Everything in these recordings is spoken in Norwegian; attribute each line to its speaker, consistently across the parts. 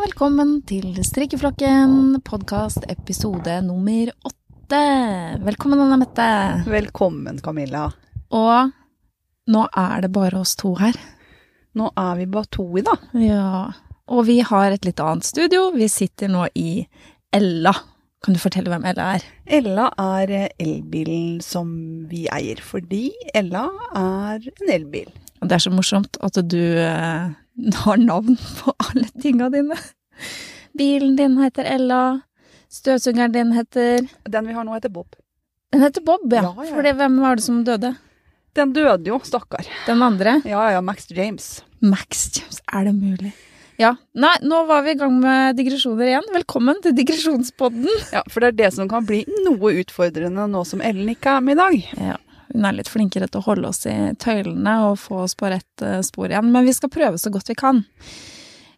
Speaker 1: Velkommen til Strikkeflokken, podkast episode nummer åtte. Velkommen, Anne Mette.
Speaker 2: Velkommen, Camilla.
Speaker 1: Og nå er det bare oss to her.
Speaker 2: Nå er vi bare to i dag.
Speaker 1: Ja. Og vi har et litt annet studio. Vi sitter nå i Ella. Kan du fortelle hvem Ella er?
Speaker 2: Ella er eh, elbilen som vi eier, fordi Ella er en elbil.
Speaker 1: Og det er så morsomt at du eh, har navn på alle tinga dine. Bilen din heter Ella. Støvsugeren din heter
Speaker 2: Den vi har nå heter Bob.
Speaker 1: Den heter Bob, ja.
Speaker 2: Ja, ja, ja.
Speaker 1: For hvem var det som døde?
Speaker 2: Den døde jo, stakkar.
Speaker 1: Den andre?
Speaker 2: Ja ja, Max James.
Speaker 1: Max James, er det mulig? Ja. Nei, nå var vi i gang med digresjoner igjen. Velkommen til digresjonspodden.
Speaker 2: Ja, For det er det som kan bli noe utfordrende nå som Ellen ikke er med i dag.
Speaker 1: Hun er litt flinkere til å holde oss i tøylene og få oss på rett eh, spor igjen, men vi skal prøve så godt vi kan.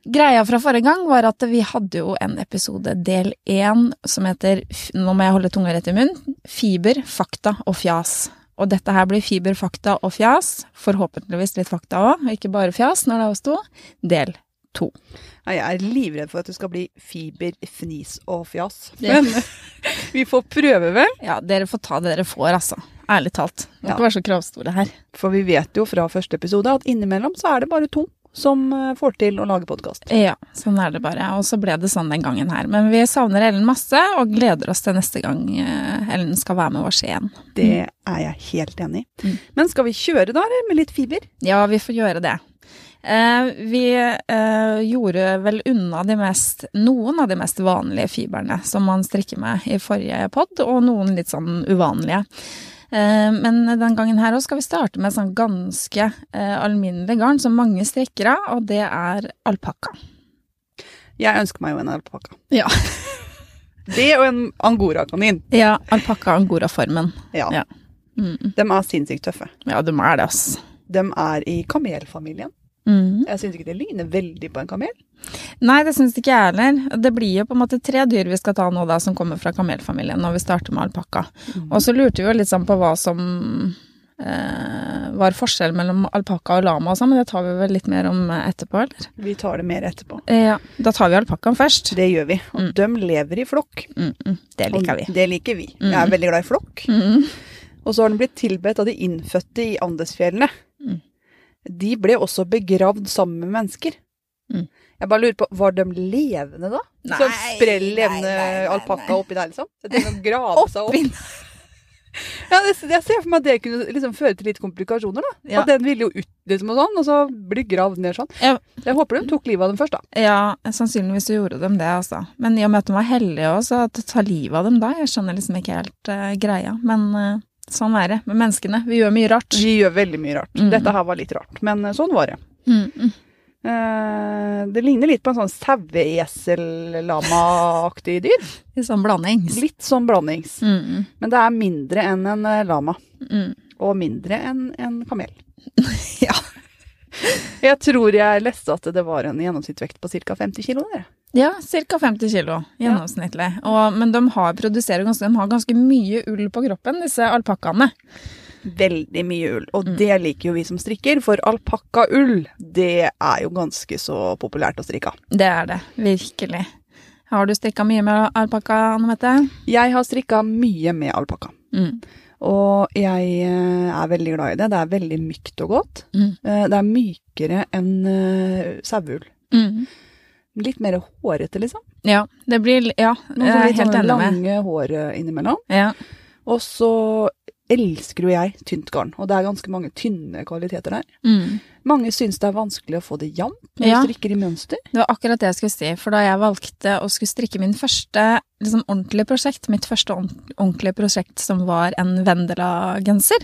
Speaker 1: Greia fra forrige gang var at vi hadde jo en episode, del én, som heter f- Nå må jeg holde tunga rett i munnen. Fiber, fakta og fjas. Og dette her blir fiber, fakta og fjas. Forhåpentligvis litt fakta òg, og ikke bare fjas når det er oss to. Del
Speaker 2: Nei, Jeg er livredd for at det skal bli fiber, fnis og fjas.
Speaker 1: Ja.
Speaker 2: Men vi får prøve, vel?
Speaker 1: Ja, dere får ta det dere får, altså. Ærlig talt. Må
Speaker 2: Ja.
Speaker 1: ikke være så kravstore her.
Speaker 2: For vi vet jo fra første episode at innimellom så er det bare to som eh, får til å lage podkast.
Speaker 1: Ja, sånn er det bare. Og så ble det sånn den gangen her. Men vi savner Ellen masse, og gleder oss til neste gang eh, Ellen skal være med oss igjen.
Speaker 2: Det er jeg helt enig i.
Speaker 1: Mm.
Speaker 2: Men skal vi kjøre da, eller? Med litt fiber?
Speaker 1: Ja, vi får gjøre det. Eh, vi eh, gjorde vel unna de mest, noen av de mest vanlige fiberne som man strikker med i forrige pod, og noen litt sånn uvanlige. Eh, men den gangen her også skal vi starte med sånn ganske eh, alminnelig garn som mange strikker av, og det er alpakka.
Speaker 2: Jeg ønsker meg jo en alpakka.
Speaker 1: Ja.
Speaker 2: Det og en angorakanin.
Speaker 1: Ja, alpakka angora-formen.
Speaker 2: Ja.
Speaker 1: Ja. Mm.
Speaker 2: De er sinnssykt tøffe.
Speaker 1: Ja, de er det, ass.
Speaker 2: De er i kamelfamilien.
Speaker 1: Mhm.
Speaker 2: Jeg syns ikke det ligner veldig på en kamel.
Speaker 1: Nei, det syns ikke jeg heller. Det blir jo på en måte tre dyr vi skal ta nå, da, som kommer fra kamelfamilien, når vi starter med alpakka. Og så lurte vi jo litt sånn på hva som eh, var forskjell mellom alpakka og lama og sånn, men det tar vi vel litt mer om eh, etterpå, eller?
Speaker 2: Vi tar det mer etterpå.
Speaker 1: Eh, Ja, da tar vi alpakkaen først.
Speaker 2: Det gjør vi. Og
Speaker 1: Mm.
Speaker 2: de lever i flokk.
Speaker 1: Mm -mm, det liker vi.
Speaker 2: Og Det liker vi. Jeg
Speaker 1: Mm.
Speaker 2: er veldig glad i flokk.
Speaker 1: Mm -mm.
Speaker 2: Og så har den blitt tilbedt av de innfødte i Andesfjellene.
Speaker 1: Mm.
Speaker 2: De ble også begravd sammen med mennesker.
Speaker 1: Mm.
Speaker 2: Jeg bare lurer på, var de levende da?
Speaker 1: Nei,
Speaker 2: Sånn sprell
Speaker 1: nei,
Speaker 2: levende
Speaker 1: nei, nei, nei.
Speaker 2: alpakka oppi der, liksom? Jeg tenker De grave seg opp.
Speaker 1: Oppvinn.
Speaker 2: Ja, det, jeg ser for meg at det kunne liksom føre til litt komplikasjoner, da.
Speaker 1: Ja.
Speaker 2: At den ville jo ut, liksom, og sånn, og så bli gravd ned sånn.
Speaker 1: Ja.
Speaker 2: Jeg håper de tok livet av dem først, da.
Speaker 1: Ja, sannsynligvis så gjorde de det, altså. Men i og med at de var heldige også, at det tar livet av dem da, jeg skjønner liksom ikke helt eh, greia. Men eh, sånn er det med menneskene. Vi gjør mye rart.
Speaker 2: De gjør veldig mye rart.
Speaker 1: Mm.
Speaker 2: Dette her var litt rart, men eh, sånn var det.
Speaker 1: Mm, mm.
Speaker 2: Eh, det ligner litt på en sånn saueesel-lama-aktig dyr.
Speaker 1: Litt sånn blandings.
Speaker 2: Litt sånn blandings.
Speaker 1: Mm, mm,
Speaker 2: Men det er mindre enn en eh, lama,
Speaker 1: mm.
Speaker 2: og mindre enn en kamel.
Speaker 1: Ja.
Speaker 2: Jeg tror jeg leste at det var en gjennomsnittsvekt på ca. 50 kilo. Dere.
Speaker 1: Ja, ca. 50 kilo gjennomsnittlig. Og, men de har, produserer ganske, de har ganske mye ull på kroppen, disse alpakkaene.
Speaker 2: Veldig mye ull, og
Speaker 1: Mm.
Speaker 2: det liker jo vi som strikker, for alpakkaull, det er jo ganske så populært å strikke av.
Speaker 1: Det er det, virkelig. Har du strikka mye med alpakka, Anne Mette?
Speaker 2: Jeg har strikka mye med alpakka,
Speaker 1: Mm.
Speaker 2: og jeg eh, er veldig glad i det. Det er veldig mykt og godt.
Speaker 1: Mm.
Speaker 2: Eh, Det er mykere enn eh, saueull.
Speaker 1: Mm.
Speaker 2: Litt mer hårete, liksom.
Speaker 1: Ja, det blir Ja,
Speaker 2: Noen
Speaker 1: jeg
Speaker 2: sånn
Speaker 1: er
Speaker 2: litt
Speaker 1: helt
Speaker 2: sånn
Speaker 1: enig med.
Speaker 2: lange hår eh, innimellom.
Speaker 1: Ja.
Speaker 2: Og så elsker jo jeg tynt garn, og det er ganske mange tynne kvaliteter der.
Speaker 1: Mm.
Speaker 2: Mange syns det er vanskelig å få det jevnt når
Speaker 1: Ja.
Speaker 2: du strikker i mønster.
Speaker 1: Det var akkurat det jeg skulle si, for da jeg valgte å skulle strikke min første liksom, ordentlige prosjekt, mitt første ordent- ordentlige prosjekt som var en Vendela-genser,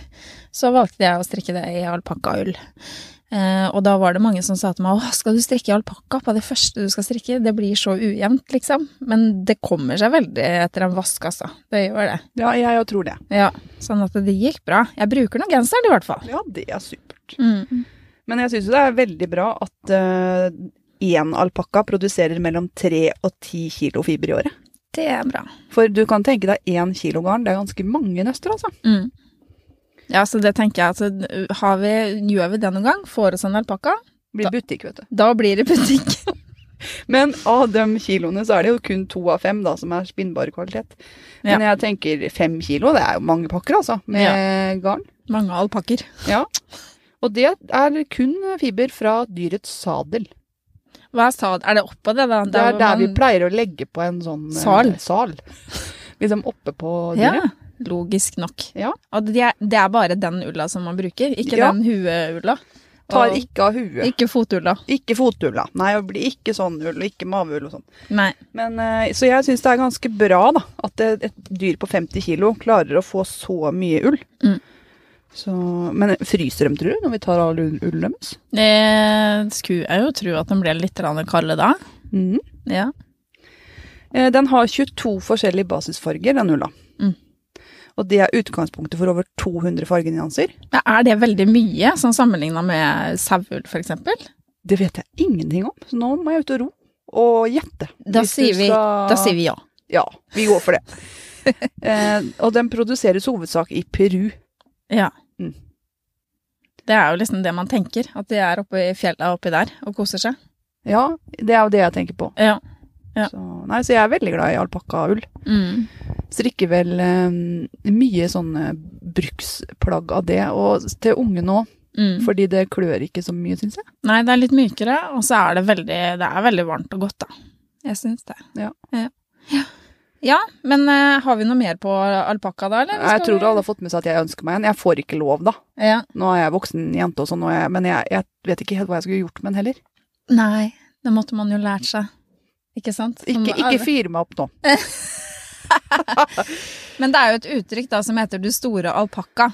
Speaker 1: så valgte jeg å strikke det i alpakkaull. Eh, og da var det mange som sa til meg åh, skal du strikke i alpakka på det første du skal strikke, det blir så ujevnt, liksom. Men det kommer seg veldig etter en vask, altså. Det gjør det.
Speaker 2: Ja, jeg jo tror det.
Speaker 1: Ja, sånn at det gikk bra. Jeg bruker nå genseren i hvert fall.
Speaker 2: Ja, det er supert.
Speaker 1: Mm.
Speaker 2: Men jeg syns jo det er veldig bra at eh, én alpakka produserer mellom tre og ti kilo fiber i året.
Speaker 1: Det er bra.
Speaker 2: For du kan tenke deg én kilo garn, det er ganske mange nøster, altså.
Speaker 1: Mm. Ja, så det tenker jeg. Altså, har vi, gjør vi det noen gang, får oss en alpakka,
Speaker 2: Blir butikk, vet du.
Speaker 1: da blir det butikk.
Speaker 2: Men av de kiloene så er det jo kun to av fem da, som er spinnbar kvalitet. Men jeg tenker fem kilo, det er jo mange pakker altså, med garn.
Speaker 1: Mange alpakker.
Speaker 2: Ja. Og det er kun fiber fra dyrets sadel.
Speaker 1: Hva er sad? Er det oppå det, da?
Speaker 2: Det er
Speaker 1: hvor
Speaker 2: der vi
Speaker 1: man-
Speaker 2: pleier å legge på en sånn eh,
Speaker 1: Sal.
Speaker 2: sal. Liksom oppe på dyret.
Speaker 1: Ja, logisk nok.
Speaker 2: Ja.
Speaker 1: Og det er, det er bare den ulla som man bruker, ikke
Speaker 2: Ja.
Speaker 1: den hueulla.
Speaker 2: Tar
Speaker 1: Og
Speaker 2: ikke av huet.
Speaker 1: ikke fotulla.
Speaker 2: Ikke fotulla. Nei, det blir ikke sånn ull, og ikke maveull og sånn.
Speaker 1: Nei.
Speaker 2: Men, eh, så jeg syns det er ganske bra da, at et, et dyr på 50 kilo klarer å få så mye ull.
Speaker 1: Mm.
Speaker 2: Så, men fryser dem, tror du, når vi tar all ull- ullen deres?
Speaker 1: Det Eh, skulle jeg jo tro at den ble litt grann kald da.
Speaker 2: Mhm.
Speaker 1: Ja.
Speaker 2: Eh, Den har 22 forskjellige basisfarger, den ulla.
Speaker 1: Mm.
Speaker 2: Og det er utgangspunktet for over 200 fargenyanser.
Speaker 1: Men Er det veldig mye, sånn sammenligna med saueull for eksempel?
Speaker 2: Det vet jeg ingenting om, så nå må jeg ut og ro og gjette.
Speaker 1: Da sier vi- Da sier vi ja.
Speaker 2: Ja, vi går for det. eh, og den produseres hovedsak i Peru.
Speaker 1: Ja.
Speaker 2: Mm.
Speaker 1: Det er jo liksom det man tenker, at de er oppe i fjella oppi der og koser seg.
Speaker 2: Ja, det er jo det jeg tenker på.
Speaker 1: Ja. Ja.
Speaker 2: Så, nei, så jeg er veldig glad i alpakkaull.
Speaker 1: Mm.
Speaker 2: Strikker vel eh, mye sånne bruksplagg av det, og til unge nå,
Speaker 1: Mm.
Speaker 2: fordi det klør ikke så mye, syns jeg.
Speaker 1: Nei, det er litt mykere, og så er det veldig, det er veldig varmt og godt, da. Jeg syns det.
Speaker 2: Ja.
Speaker 1: ja. Ja, men eh, har vi noe mer på alpakka da, eller?
Speaker 2: Jeg tror alle har fått med seg at jeg ønsker meg en. Jeg får ikke lov, da.
Speaker 1: Ja.
Speaker 2: Nå er jeg voksen jente og sånn, og jeg, men jeg, jeg vet ikke helt hva jeg skulle gjort med den heller.
Speaker 1: Nei, det måtte man jo lært seg. Ikke sant? Som-
Speaker 2: Ikke, ikke fyr meg opp nå.
Speaker 1: Men det er jo et uttrykk da som heter 'du store alpakka'.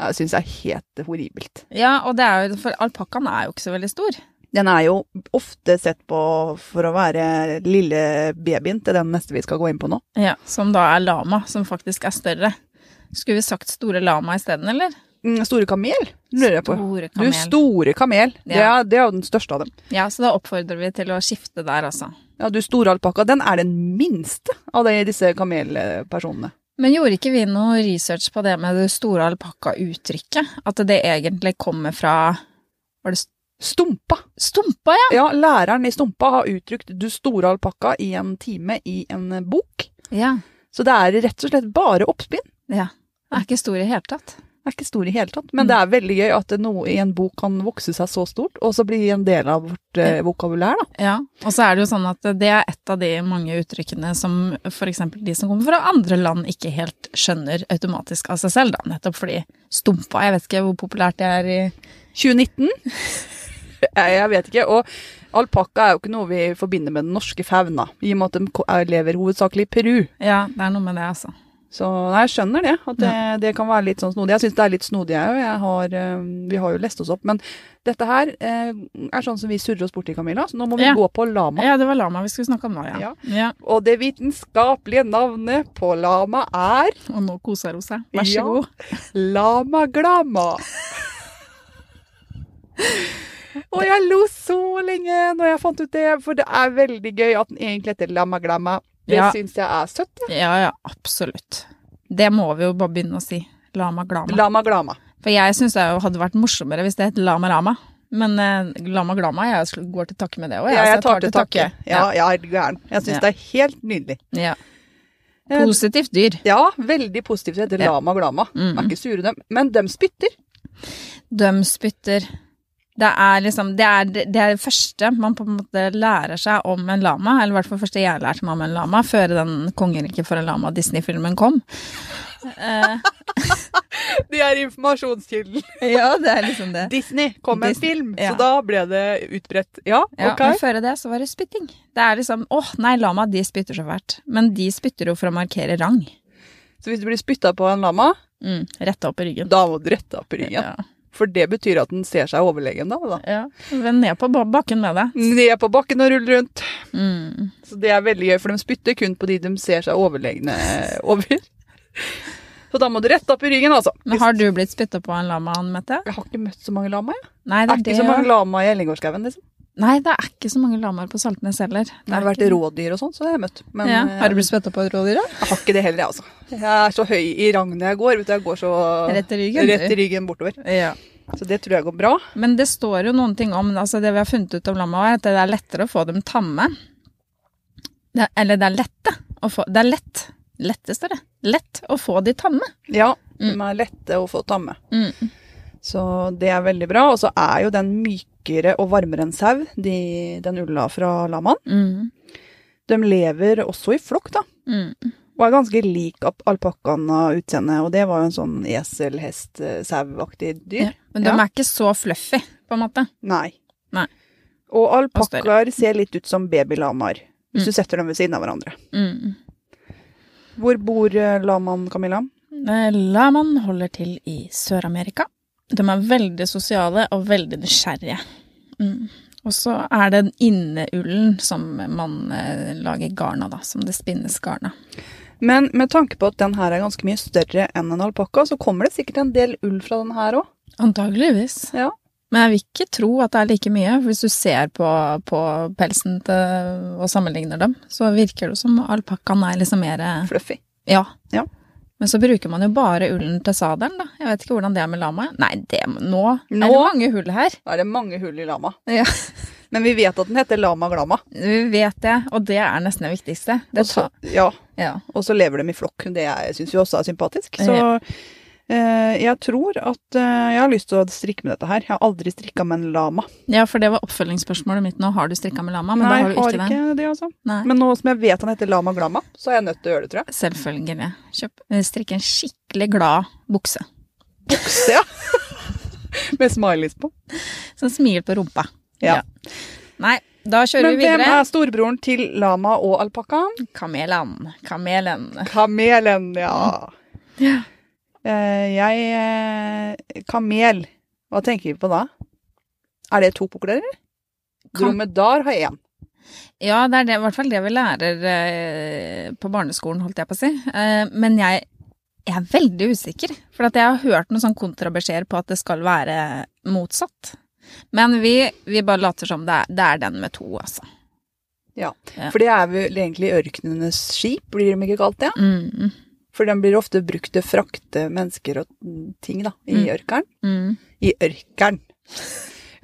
Speaker 2: Jeg syns det er helt horribelt.
Speaker 1: Ja, og det er jo, for alpakkaen er jo ikke så veldig stor.
Speaker 2: Den er jo ofte sett på for å være lille babyen til den neste vi skal gå inn på nå.
Speaker 1: Ja, Som da er lama, som faktisk er større. Skulle vi sagt store lama isteden, eller?
Speaker 2: Mm, Store kamel, lurer jeg på.
Speaker 1: Store
Speaker 2: Du
Speaker 1: kamel.
Speaker 2: store kamel. Det,
Speaker 1: Ja.
Speaker 2: er, det er jo den største av dem.
Speaker 1: Ja, så da oppfordrer vi til å skifte der, altså.
Speaker 2: Ja, du store alpakka, den er den minste av de, disse kamelpersonene.
Speaker 1: Men gjorde ikke vi noe research på det med det store alpakka-uttrykket? At det egentlig kommer fra Var det
Speaker 2: Stumpa.
Speaker 1: stumpa, ja?
Speaker 2: Ja, læreren i Stumpa har uttrykt 'du store alpakka' i en time i en bok.
Speaker 1: Ja.
Speaker 2: Så det er rett og slett bare oppspinn.
Speaker 1: Den er ikke stor i det hele tatt.
Speaker 2: Den er ikke stor i hele tatt, men det
Speaker 1: Mm.
Speaker 2: er veldig gøy at noe i en bok kan vokse seg så stort, og så bli en del av vårt eh, vokabulær, da.
Speaker 1: Ja. Og så er det jo sånn at det er et av de mange uttrykkene som f.eks. de som kommer fra andre land, ikke helt skjønner automatisk av seg selv, da. Nettopp fordi stumpa Jeg vet ikke hvor populært det er i
Speaker 2: 2019? Jeg jeg vet ikke. Og alpakka er jo ikke noe vi forbinder med den norske fauna, i og med at de ko- er- lever hovedsakelig i Peru.
Speaker 1: Ja, det er noe med det, altså.
Speaker 2: Så nei, jeg skjønner det, at det, det kan være litt sånn snodig. Jeg syns det er litt snodig, jeg òg. Jeg har, eh, Vi har jo lest oss opp. Men dette her eh, er sånn som vi surrer oss borti, Camilla, så nå må vi
Speaker 1: Ja.
Speaker 2: gå på lama.
Speaker 1: Ja, det var lama vi skulle snakke om nå, ja.
Speaker 2: Ja.
Speaker 1: ja.
Speaker 2: Og det vitenskapelige navnet på lama er
Speaker 1: Og nå koser hun seg. Vær så
Speaker 2: Ja.
Speaker 1: god.
Speaker 2: Lama glama. Og jeg lo så lenge når jeg fant ut det, for det er veldig gøy at den egentlig heter Lama Glama. Det
Speaker 1: Ja.
Speaker 2: syns jeg er søtt.
Speaker 1: Ja, ja, absolutt. Det må vi jo bare begynne å si. Lama glama.
Speaker 2: Lama Glama.
Speaker 1: For jeg syns det jo hadde vært morsommere hvis det het lama rama. Men eh, lama glama, jeg sl- går til takke med det òg.
Speaker 2: Ja, jeg tar til takke. Ja, jeg er gæren. Jeg syns
Speaker 1: Ja.
Speaker 2: det er helt nydelig.
Speaker 1: Ja.
Speaker 2: Eh,
Speaker 1: Positivt dyr.
Speaker 2: Ja, veldig positivt. Det heter
Speaker 1: Ja.
Speaker 2: Lama Glama.
Speaker 1: Mm.
Speaker 2: Er ikke sure, dem. Men dem spytter.
Speaker 1: De spytter. Det er liksom det, er det- det er det første man på en måte lærer seg om en lama, eller i hvert fall første jeg lærte meg om en lama, før den 'Kongeriket for en lama' Disney-filmen kom. Eh,
Speaker 2: Det er informasjonskilden.
Speaker 1: ja, det er liksom det.
Speaker 2: Disney kom med en
Speaker 1: Disney,
Speaker 2: film,
Speaker 1: ja.
Speaker 2: så da ble det utbredt. Ja,
Speaker 1: Ja,
Speaker 2: ok.
Speaker 1: Men før det så var det spytting. Det er liksom åh, nei, lama, de spytter så fælt. Men de spytter jo for å markere rang.
Speaker 2: Så hvis du blir spytta på av en lama,
Speaker 1: Mm, rett opp i ryggen.
Speaker 2: da må du rette opp ryggen.
Speaker 1: Ja.
Speaker 2: For det betyr at den ser seg overlegen da. da.
Speaker 1: ja. Vend ned på ba- bakken med deg.
Speaker 2: Ned på bakken og rulle rundt.
Speaker 1: Mm.
Speaker 2: Så det er veldig gøy, for de spytter kun på de de ser seg overlegne over. Så da må du rette opp i ryggen, altså.
Speaker 1: Men har du blitt spytta på av en lama, Anne Mette?
Speaker 2: Jeg har ikke møtt så mange lama, jeg.
Speaker 1: Nei,
Speaker 2: Det
Speaker 1: det
Speaker 2: er
Speaker 1: er
Speaker 2: ikke
Speaker 1: det
Speaker 2: så mange
Speaker 1: jo.
Speaker 2: lama i Ellingårdskauen, liksom.
Speaker 1: Nei, det er ikke så mange lamaer på Saltnes heller.
Speaker 2: Det har vært
Speaker 1: ikke-
Speaker 2: rådyr og sånn, så det har jeg møtt. Men
Speaker 1: ja.
Speaker 2: eh,
Speaker 1: Har du blitt spytta på et rådyr, da?
Speaker 2: jeg har ikke det heller, jeg, altså. Jeg er så høy i rang når jeg går. Vet du, jeg går så
Speaker 1: Rett i ryggen? du.
Speaker 2: rett i ryggen bortover.
Speaker 1: Ja.
Speaker 2: Så det tror jeg går bra.
Speaker 1: Men det står jo noen ting om altså Det vi har funnet ut om lamma, er at det er lettere å få dem tamme. Det, er- eller det er lette å få Det er lett. Lette, står det. Lett å få de tamme.
Speaker 2: Ja,
Speaker 1: Mm.
Speaker 2: de er lette å få tamme.
Speaker 1: Mm.
Speaker 2: Så det er veldig bra. Og så er jo den mykere og varmere enn sau, de, den ulla fra lamaen.
Speaker 1: Mm.
Speaker 2: De lever også i flokk, da.
Speaker 1: Mm.
Speaker 2: Og er ganske lik ap- alpakkaen av utseende. Og det var jo en sånn esel-hest-sau-aktig
Speaker 1: Ja.
Speaker 2: dyr.
Speaker 1: Men de er ikke så fluffy, på en måte.
Speaker 2: Nei.
Speaker 1: Nei.
Speaker 2: Og
Speaker 1: Og
Speaker 2: alpakkaer ser litt ut som babylamaer. Hvis
Speaker 1: Mm.
Speaker 2: du setter dem ved siden av hverandre.
Speaker 1: Mm.
Speaker 2: Hvor bor eh, lamaen, Camilla?
Speaker 1: Eh, Lamaen holder til i Sør-Amerika. De er veldig sosiale og veldig nysgjerrige. Mm. Og så er det inneullen som man eh, lager garn av, da. Som det spinnes garn av.
Speaker 2: Men med tanke på at den her er ganske mye større enn en alpakka, så kommer det sikkert en del ull fra den her òg.
Speaker 1: Antageligvis.
Speaker 2: Ja.
Speaker 1: Men jeg vil ikke tro at det er like mye. for Hvis du ser på, på pelsen til, og sammenligner dem, så virker det som alpakkaen er liksom mer eh,
Speaker 2: Fluffy.
Speaker 1: ja.
Speaker 2: Ja.
Speaker 1: Men så bruker man jo bare ullen til sadelen, da. Jeg vet ikke hvordan det er med lamaet. Nei, det, nå, er det
Speaker 2: Nå?
Speaker 1: mange hull her.
Speaker 2: Da er det mange hull i lama.
Speaker 1: Ja.
Speaker 2: Men vi vet at den heter lama glama.
Speaker 1: Vi vet det, og det er nesten det viktigste. Det
Speaker 2: Og så,
Speaker 1: tar-
Speaker 2: ja,
Speaker 1: ja.
Speaker 2: og så lever de i flokk. Det syns vi også er sympatisk. Så
Speaker 1: Ja.
Speaker 2: eh, jeg tror at eh, jeg har lyst til å strikke med dette her. Jeg har aldri strikka med en lama.
Speaker 1: ja, for det var oppfølgingsspørsmålet mitt nå. Har du strikka med lama? Men
Speaker 2: Nei,
Speaker 1: da har du ikke, det.
Speaker 2: ikke det, altså.
Speaker 1: Nei.
Speaker 2: Men nå som jeg vet han heter lama glama, så er jeg nødt til å gjøre det, tror jeg.
Speaker 1: Selvfølgelig. Kjøp. Strikk en skikkelig glad bukse.
Speaker 2: Bukse, ja. med smileys på.
Speaker 1: Som smiler på rumpa.
Speaker 2: Ja.
Speaker 1: Nei, da kjører
Speaker 2: Men
Speaker 1: vi
Speaker 2: hvem
Speaker 1: videre.
Speaker 2: er storebroren til lama og alpakkaen?
Speaker 1: Kamelen. Kamelen.
Speaker 2: Kamelen, ja.
Speaker 1: Ja.
Speaker 2: Eh, jeg eh, Kamel. Hva tenker vi på da? Er det to pukler, eller?
Speaker 1: Kam-
Speaker 2: Dromedar har én.
Speaker 1: Ja, det er det, i hvert fall det vi lærer eh, på barneskolen, holdt jeg på å si. Eh, men jeg, jeg er veldig usikker, for at jeg har hørt noen sånn kontrabeskjeder på at det skal være motsatt. Men vi, vi bare later som det er, det er den med to, altså. Ja.
Speaker 2: For det er vel egentlig ørkenenes skip, blir de ikke kalt det?
Speaker 1: Mm,
Speaker 2: For de blir ofte brukt til å frakte mennesker og mm, ting, da. I
Speaker 1: Mm.
Speaker 2: ørkeren.
Speaker 1: mm.
Speaker 2: I ørkeren.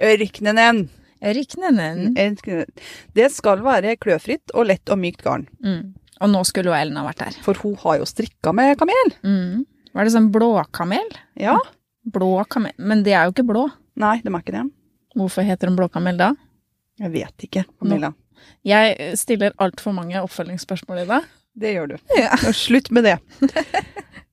Speaker 2: Ørknenen.
Speaker 1: Riknenen.
Speaker 2: Ørknenen. Det skal være kløfritt og lett og mykt garn.
Speaker 1: Mm. Og nå skulle jo Ellen ha vært der.
Speaker 2: For hun har jo strikka med kamel.
Speaker 1: Mm. Var det sånn blåkamel?
Speaker 2: Ja.
Speaker 1: Blå kamel. Men de er jo ikke blå.
Speaker 2: Nei, de er ikke det.
Speaker 1: Hvorfor heter de blåkamel da?
Speaker 2: Jeg vet ikke, Camilla.
Speaker 1: Jeg eh, stiller altfor mange oppfølgingsspørsmål i dag.
Speaker 2: Det gjør du.
Speaker 1: Ja.
Speaker 2: Og slutt med det.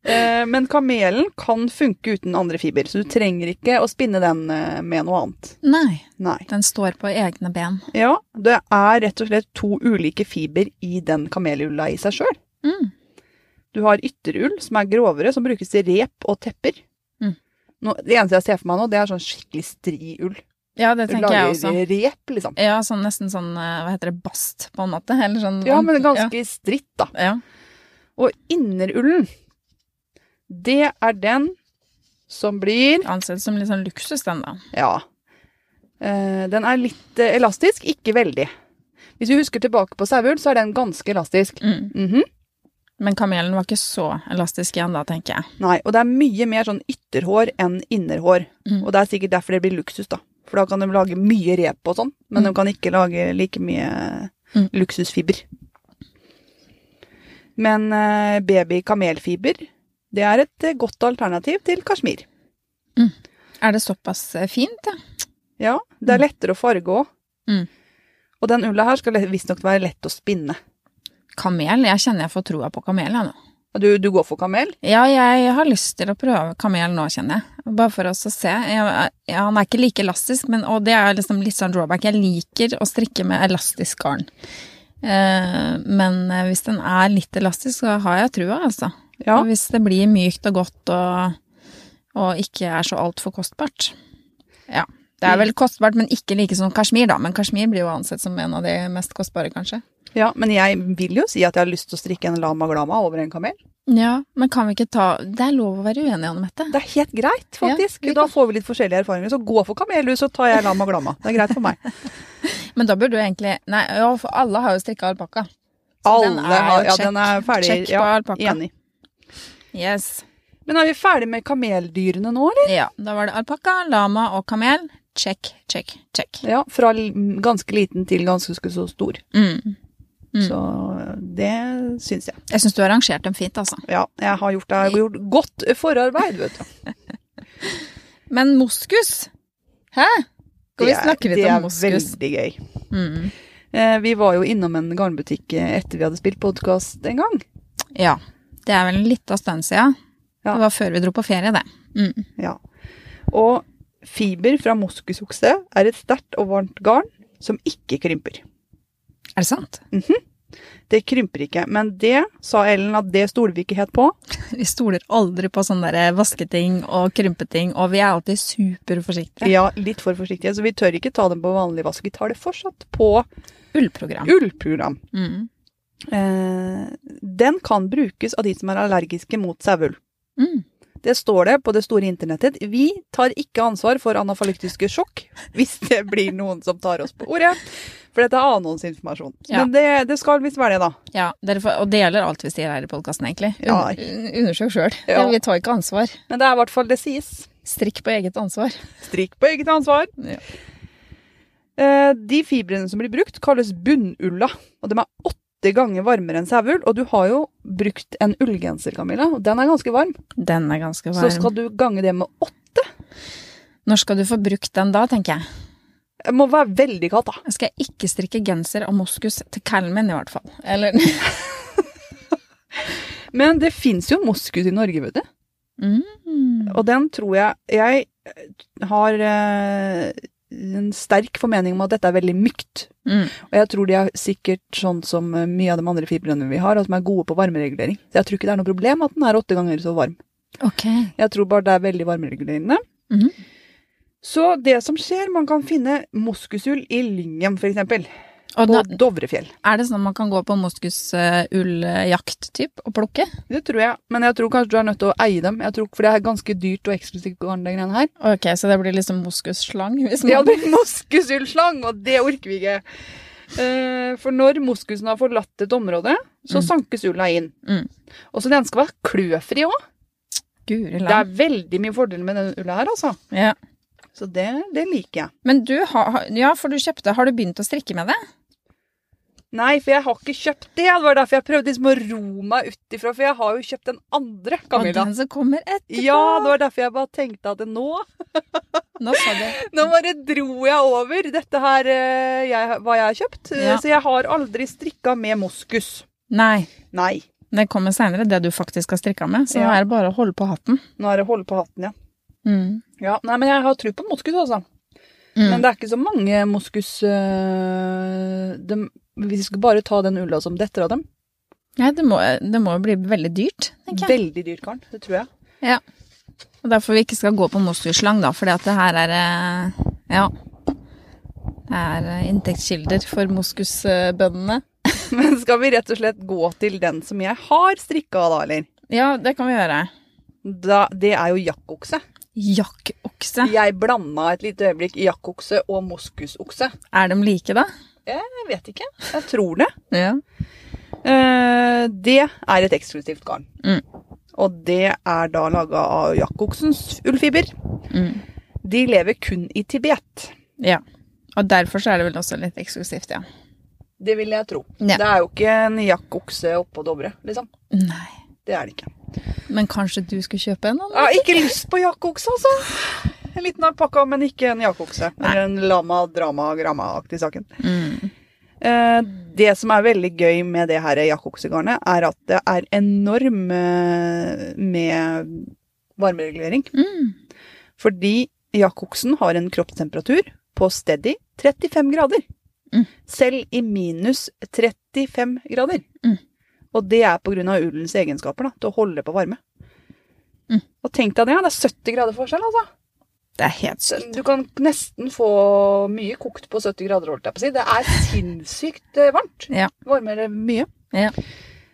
Speaker 2: Eh, Men kamelen kan funke uten andre fiber, så du trenger ikke å spinne den eh, med noe annet.
Speaker 1: Nei,
Speaker 2: Nei.
Speaker 1: den står på egne ben.
Speaker 2: Ja, det er rett og slett to ulike fiber i den kamelulla i seg sjøl.
Speaker 1: Mm.
Speaker 2: Du har ytterull, som er grovere, som brukes til rep og tepper.
Speaker 1: Mm.
Speaker 2: Nå, det eneste jeg ser for meg nå, det er sånn skikkelig stri ull.
Speaker 1: Ja, det
Speaker 2: Du
Speaker 1: tenker jeg også.
Speaker 2: lager rep, liksom.
Speaker 1: Ja, sånn nesten sånn, eh, hva heter det, bast, på en måte? Eller sånn
Speaker 2: Ja, men ganske stritt, da.
Speaker 1: Ja. ja.
Speaker 2: Og innerullen, det er den som blir
Speaker 1: Ansett som litt sånn luksus, den, da.
Speaker 2: Ja. Eh, den er litt eh, elastisk, ikke veldig. Hvis vi husker tilbake på saueull, så er den ganske elastisk.
Speaker 1: Mm.
Speaker 2: Mhm.
Speaker 1: Men kamelen var ikke så elastisk igjen, da, tenker jeg.
Speaker 2: Nei, og det er mye mer sånn ytterhår enn innerhår.
Speaker 1: Mm.
Speaker 2: Og det er sikkert derfor det blir luksus, da. For da kan de lage mye rep og sånn, men de kan ikke lage like mye
Speaker 1: Mm.
Speaker 2: luksusfiber. Men eh, baby-kamelfiber, det er et eh, godt alternativ til kasjmir.
Speaker 1: Er det såpass eh, fint, ja?
Speaker 2: Ja, det er lettere å farge òg. Mhm.
Speaker 1: Mm.
Speaker 2: Og den ulla her skal visstnok være lett å spinne.
Speaker 1: Kamel? Jeg kjenner jeg får troa på kamel, jeg nå.
Speaker 2: Du, du går for kamel?
Speaker 1: Ja, jeg har lyst til å prøve kamel nå, kjenner jeg. Bare for oss å se. Jeg, ja, han er ikke like elastisk, men, og det er liksom litt sånn drawback. Jeg liker å strikke med elastisk garn. Eh, men eh, hvis den er litt elastisk, så har jeg trua, altså.
Speaker 2: Ja.
Speaker 1: Og hvis det blir mykt og godt og, og ikke er så altfor kostbart. Ja. Det er vel kostbart, men ikke like som kasjmir, da. Men kasjmir blir jo ansett som en av de mest kostbare, kanskje.
Speaker 2: Ja, men jeg vil jo si at jeg har lyst til å strikke en lama glama over en kamel.
Speaker 1: Ja, men kan vi ikke ta Det er lov å være uenig, Anne Mette.
Speaker 2: Det er helt greit, faktisk.
Speaker 1: Ja, vi
Speaker 2: da får vi litt forskjellige erfaringer. Så gå for kamel, du, så tar jeg lama glama. Det er greit for meg.
Speaker 1: Men da burde du egentlig Nei, ja, for alle har jo strikka alpakka. Så den er
Speaker 2: Alle
Speaker 1: jo
Speaker 2: har Ja,
Speaker 1: check.
Speaker 2: den er ferdig.
Speaker 1: Check på
Speaker 2: ja,
Speaker 1: alpakka.
Speaker 2: enig.
Speaker 1: Yes.
Speaker 2: Men er vi ferdig med kameldyrene nå, eller?
Speaker 1: Ja, da var det alpakka, lama og kamel. Check, check, check.
Speaker 2: Ja, fra l- ganske liten til ganske sk- så stor.
Speaker 1: Mm. Mm.
Speaker 2: Så eh, det syns jeg.
Speaker 1: Jeg syns du har rangert dem fint, altså.
Speaker 2: Ja, jeg har gjort, jeg har gjort godt forarbeid, vet du.
Speaker 1: Men moskus? Hæ? Skal vi
Speaker 2: Det er-
Speaker 1: snakke litt om moskus?
Speaker 2: Det er veldig gøy.
Speaker 1: Mm.
Speaker 2: Eh, Vi var jo innom en garnbutikk eh, etter vi hadde spilt podkast en gang.
Speaker 1: Ja. Det er vel litt av stund siden.
Speaker 2: Ja.
Speaker 1: Det var før vi dro på ferie, det. Mm.
Speaker 2: Ja. Og fiber fra moskusokse er et sterkt og varmt garn som ikke krymper.
Speaker 1: Er det sant?
Speaker 2: Det krymper ikke, men det sa Ellen at det stoler vi ikke helt på.
Speaker 1: Vi stoler aldri på sånne der vasketing og krympeting, og vi er alltid superforsiktige.
Speaker 2: Ja, litt for forsiktige, så vi tør ikke ta dem på vanlig vask. Vi tar det fortsatt på
Speaker 1: Ullprogram.
Speaker 2: ullprogram.
Speaker 1: Mm.
Speaker 2: Eh, den kan brukes av de som er allergiske mot saueull.
Speaker 1: Mm.
Speaker 2: Det står det på det store internettet. Vi tar ikke ansvar for anafalyktiske sjokk, hvis det blir noen som tar oss på ordet. For dette er annonsinformasjon.
Speaker 1: Ja.
Speaker 2: Men det, det skal visst være det, da.
Speaker 1: Ja, dere får, og det gjelder alt vi sier her i podkasten, egentlig. Un
Speaker 2: Ja.
Speaker 1: Undersøk sjøl.
Speaker 2: Ja.
Speaker 1: Vi tar ikke ansvar.
Speaker 2: Men det er i hvert fall det sies.
Speaker 1: Strikk på eget ansvar.
Speaker 2: Strikk på eget ansvar.
Speaker 1: Ja.
Speaker 2: Eh, De fibrene som blir brukt, kalles bunnulla. Og de er åtte ganger varmere enn saueull. Og du har jo brukt en ullgenser, Camilla, og den er ganske varm.
Speaker 1: Den er ganske varm.
Speaker 2: Så skal du gange det med åtte.
Speaker 1: Når skal du få brukt den da, tenker jeg.
Speaker 2: Det må være veldig kaldt, da.
Speaker 1: Jeg skal ikke strikke genser av moskus til kallen min, i hvert fall. Eller
Speaker 2: Men det fins jo moskus i Norge, vet du.
Speaker 1: mm.
Speaker 2: Og den tror jeg Jeg har eh, en sterk formening om at dette er veldig mykt.
Speaker 1: Mm.
Speaker 2: Og jeg tror de er sikkert sånn som eh, mye av de andre fibrene vi har, at de er gode på varmeregulering. Så jeg tror ikke det er noe problem at den er åtte ganger så varm.
Speaker 1: Ok.
Speaker 2: Jeg tror bare det er veldig varmeregulerende.
Speaker 1: Mhm.
Speaker 2: Så det som skjer, man kan finne moskusull i Lyngen f.eks.
Speaker 1: Og
Speaker 2: På
Speaker 1: da,
Speaker 2: Dovrefjell.
Speaker 1: er det sånn man kan gå på moskusulljakt-typ og plukke?
Speaker 2: Det tror jeg. Men jeg tror kanskje du er nødt til å eie dem. Jeg tror, for det er ganske dyrt og eksklusivt garn, det greiene her.
Speaker 1: Ok, så det blir liksom moskusslang? Hvis
Speaker 2: Ja,
Speaker 1: man...
Speaker 2: det er moskusullslang, og det orker vi ikke. Eh, for når moskusen har forlatt et område, så
Speaker 1: Mm.
Speaker 2: sankes ulla inn.
Speaker 1: Mm.
Speaker 2: Og så den skal være kløfri òg.
Speaker 1: Guri
Speaker 2: Det
Speaker 1: land.
Speaker 2: er veldig mye fordeler med den ulla her, altså.
Speaker 1: Ja.
Speaker 2: Så det, det liker jeg.
Speaker 1: Men du har har- Ja, for du kjøpte Har du begynt å strikke med det?
Speaker 2: Nei, for jeg har ikke kjøpt det. Det var derfor jeg prøvde liksom å ro meg ut ifra, for jeg har jo kjøpt den andre, Camilla.
Speaker 1: Og den som kommer etterpå?
Speaker 2: Ja, det var derfor jeg bare tenkte at nå
Speaker 1: Nå sa du
Speaker 2: Nå bare dro jeg over dette her, eh, jeg, hva jeg har kjøpt. Eh,
Speaker 1: Ja.
Speaker 2: Så jeg har aldri strikka med moskus.
Speaker 1: Nei.
Speaker 2: Nei.
Speaker 1: Det kommer seinere, det du faktisk har strikka med. Så
Speaker 2: Ja.
Speaker 1: nå er det bare å holde på hatten.
Speaker 2: Nå er det holde på hatten, ja.
Speaker 1: Mm.
Speaker 2: Ja, nei, men jeg har tro på moskus, altså.
Speaker 1: Mm.
Speaker 2: Men det er ikke så mange moskus øh, dem- Hvis vi skal bare ta den ulla som detter av dem.
Speaker 1: Nei, det må, det må jo bli veldig dyrt, tenker jeg.
Speaker 2: Veldig dyrt garn, det tror jeg.
Speaker 1: Og derfor vi ikke skal gå på moskusslang, da, fordi at det her er eh, Ja. Det er eh, inntektskilder for moskusbøndene.
Speaker 2: Men skal vi rett og slett gå til den som jeg har strikka av, da, eller?
Speaker 1: Ja, det kan vi gjøre.
Speaker 2: Da, det er jo jakkokse.
Speaker 1: Jakkokse.
Speaker 2: Jeg blanda et lite øyeblikk jakkokse og moskusokse.
Speaker 1: Er de like, da?
Speaker 2: Jeg vet ikke. Jeg tror det.
Speaker 1: Ja.
Speaker 2: Eh, det er et eksklusivt garn.
Speaker 1: Mm.
Speaker 2: Og det er da laga av jakkoksens ullfiber.
Speaker 1: Mm.
Speaker 2: De lever kun i Tibet.
Speaker 1: ja. Og derfor så er det vel også litt eksklusivt, ja.
Speaker 2: Det vil jeg tro.
Speaker 1: Ja.
Speaker 2: Det er jo ikke en jakkokse oppå Dovre, liksom.
Speaker 1: Nei.
Speaker 2: Det er det ikke.
Speaker 1: Men kanskje du skulle kjøpe en?
Speaker 2: Jeg
Speaker 1: Anne?
Speaker 2: har ikke lyst på jakkokse, altså. En liten alpakka, men ikke en jakkokse. Eller en lama, drama, gramma-aktig saken.
Speaker 1: Mm.
Speaker 2: Eh, Det som er veldig gøy med det her jakkoksegarnet, er at det er enorm eh, med varmeregulering.
Speaker 1: Mm.
Speaker 2: Fordi jakkoksen har en kroppstemperatur på steady 35 grader.
Speaker 1: Mm.
Speaker 2: Selv i minus 35 grader.
Speaker 1: Mm.
Speaker 2: Og det er på grunn av ullens egenskaper da, til å holde på varme.
Speaker 1: Mm.
Speaker 2: Og tenk deg det, det er 70 grader forskjell altså.
Speaker 1: Det er helt
Speaker 2: Så
Speaker 1: sykt.
Speaker 2: Du kan nesten få mye kokt på 70 grader, holdt jeg på å si. Det er sinnssykt eh, varmt.
Speaker 1: Ja.
Speaker 2: Varmere mye.
Speaker 1: Ja.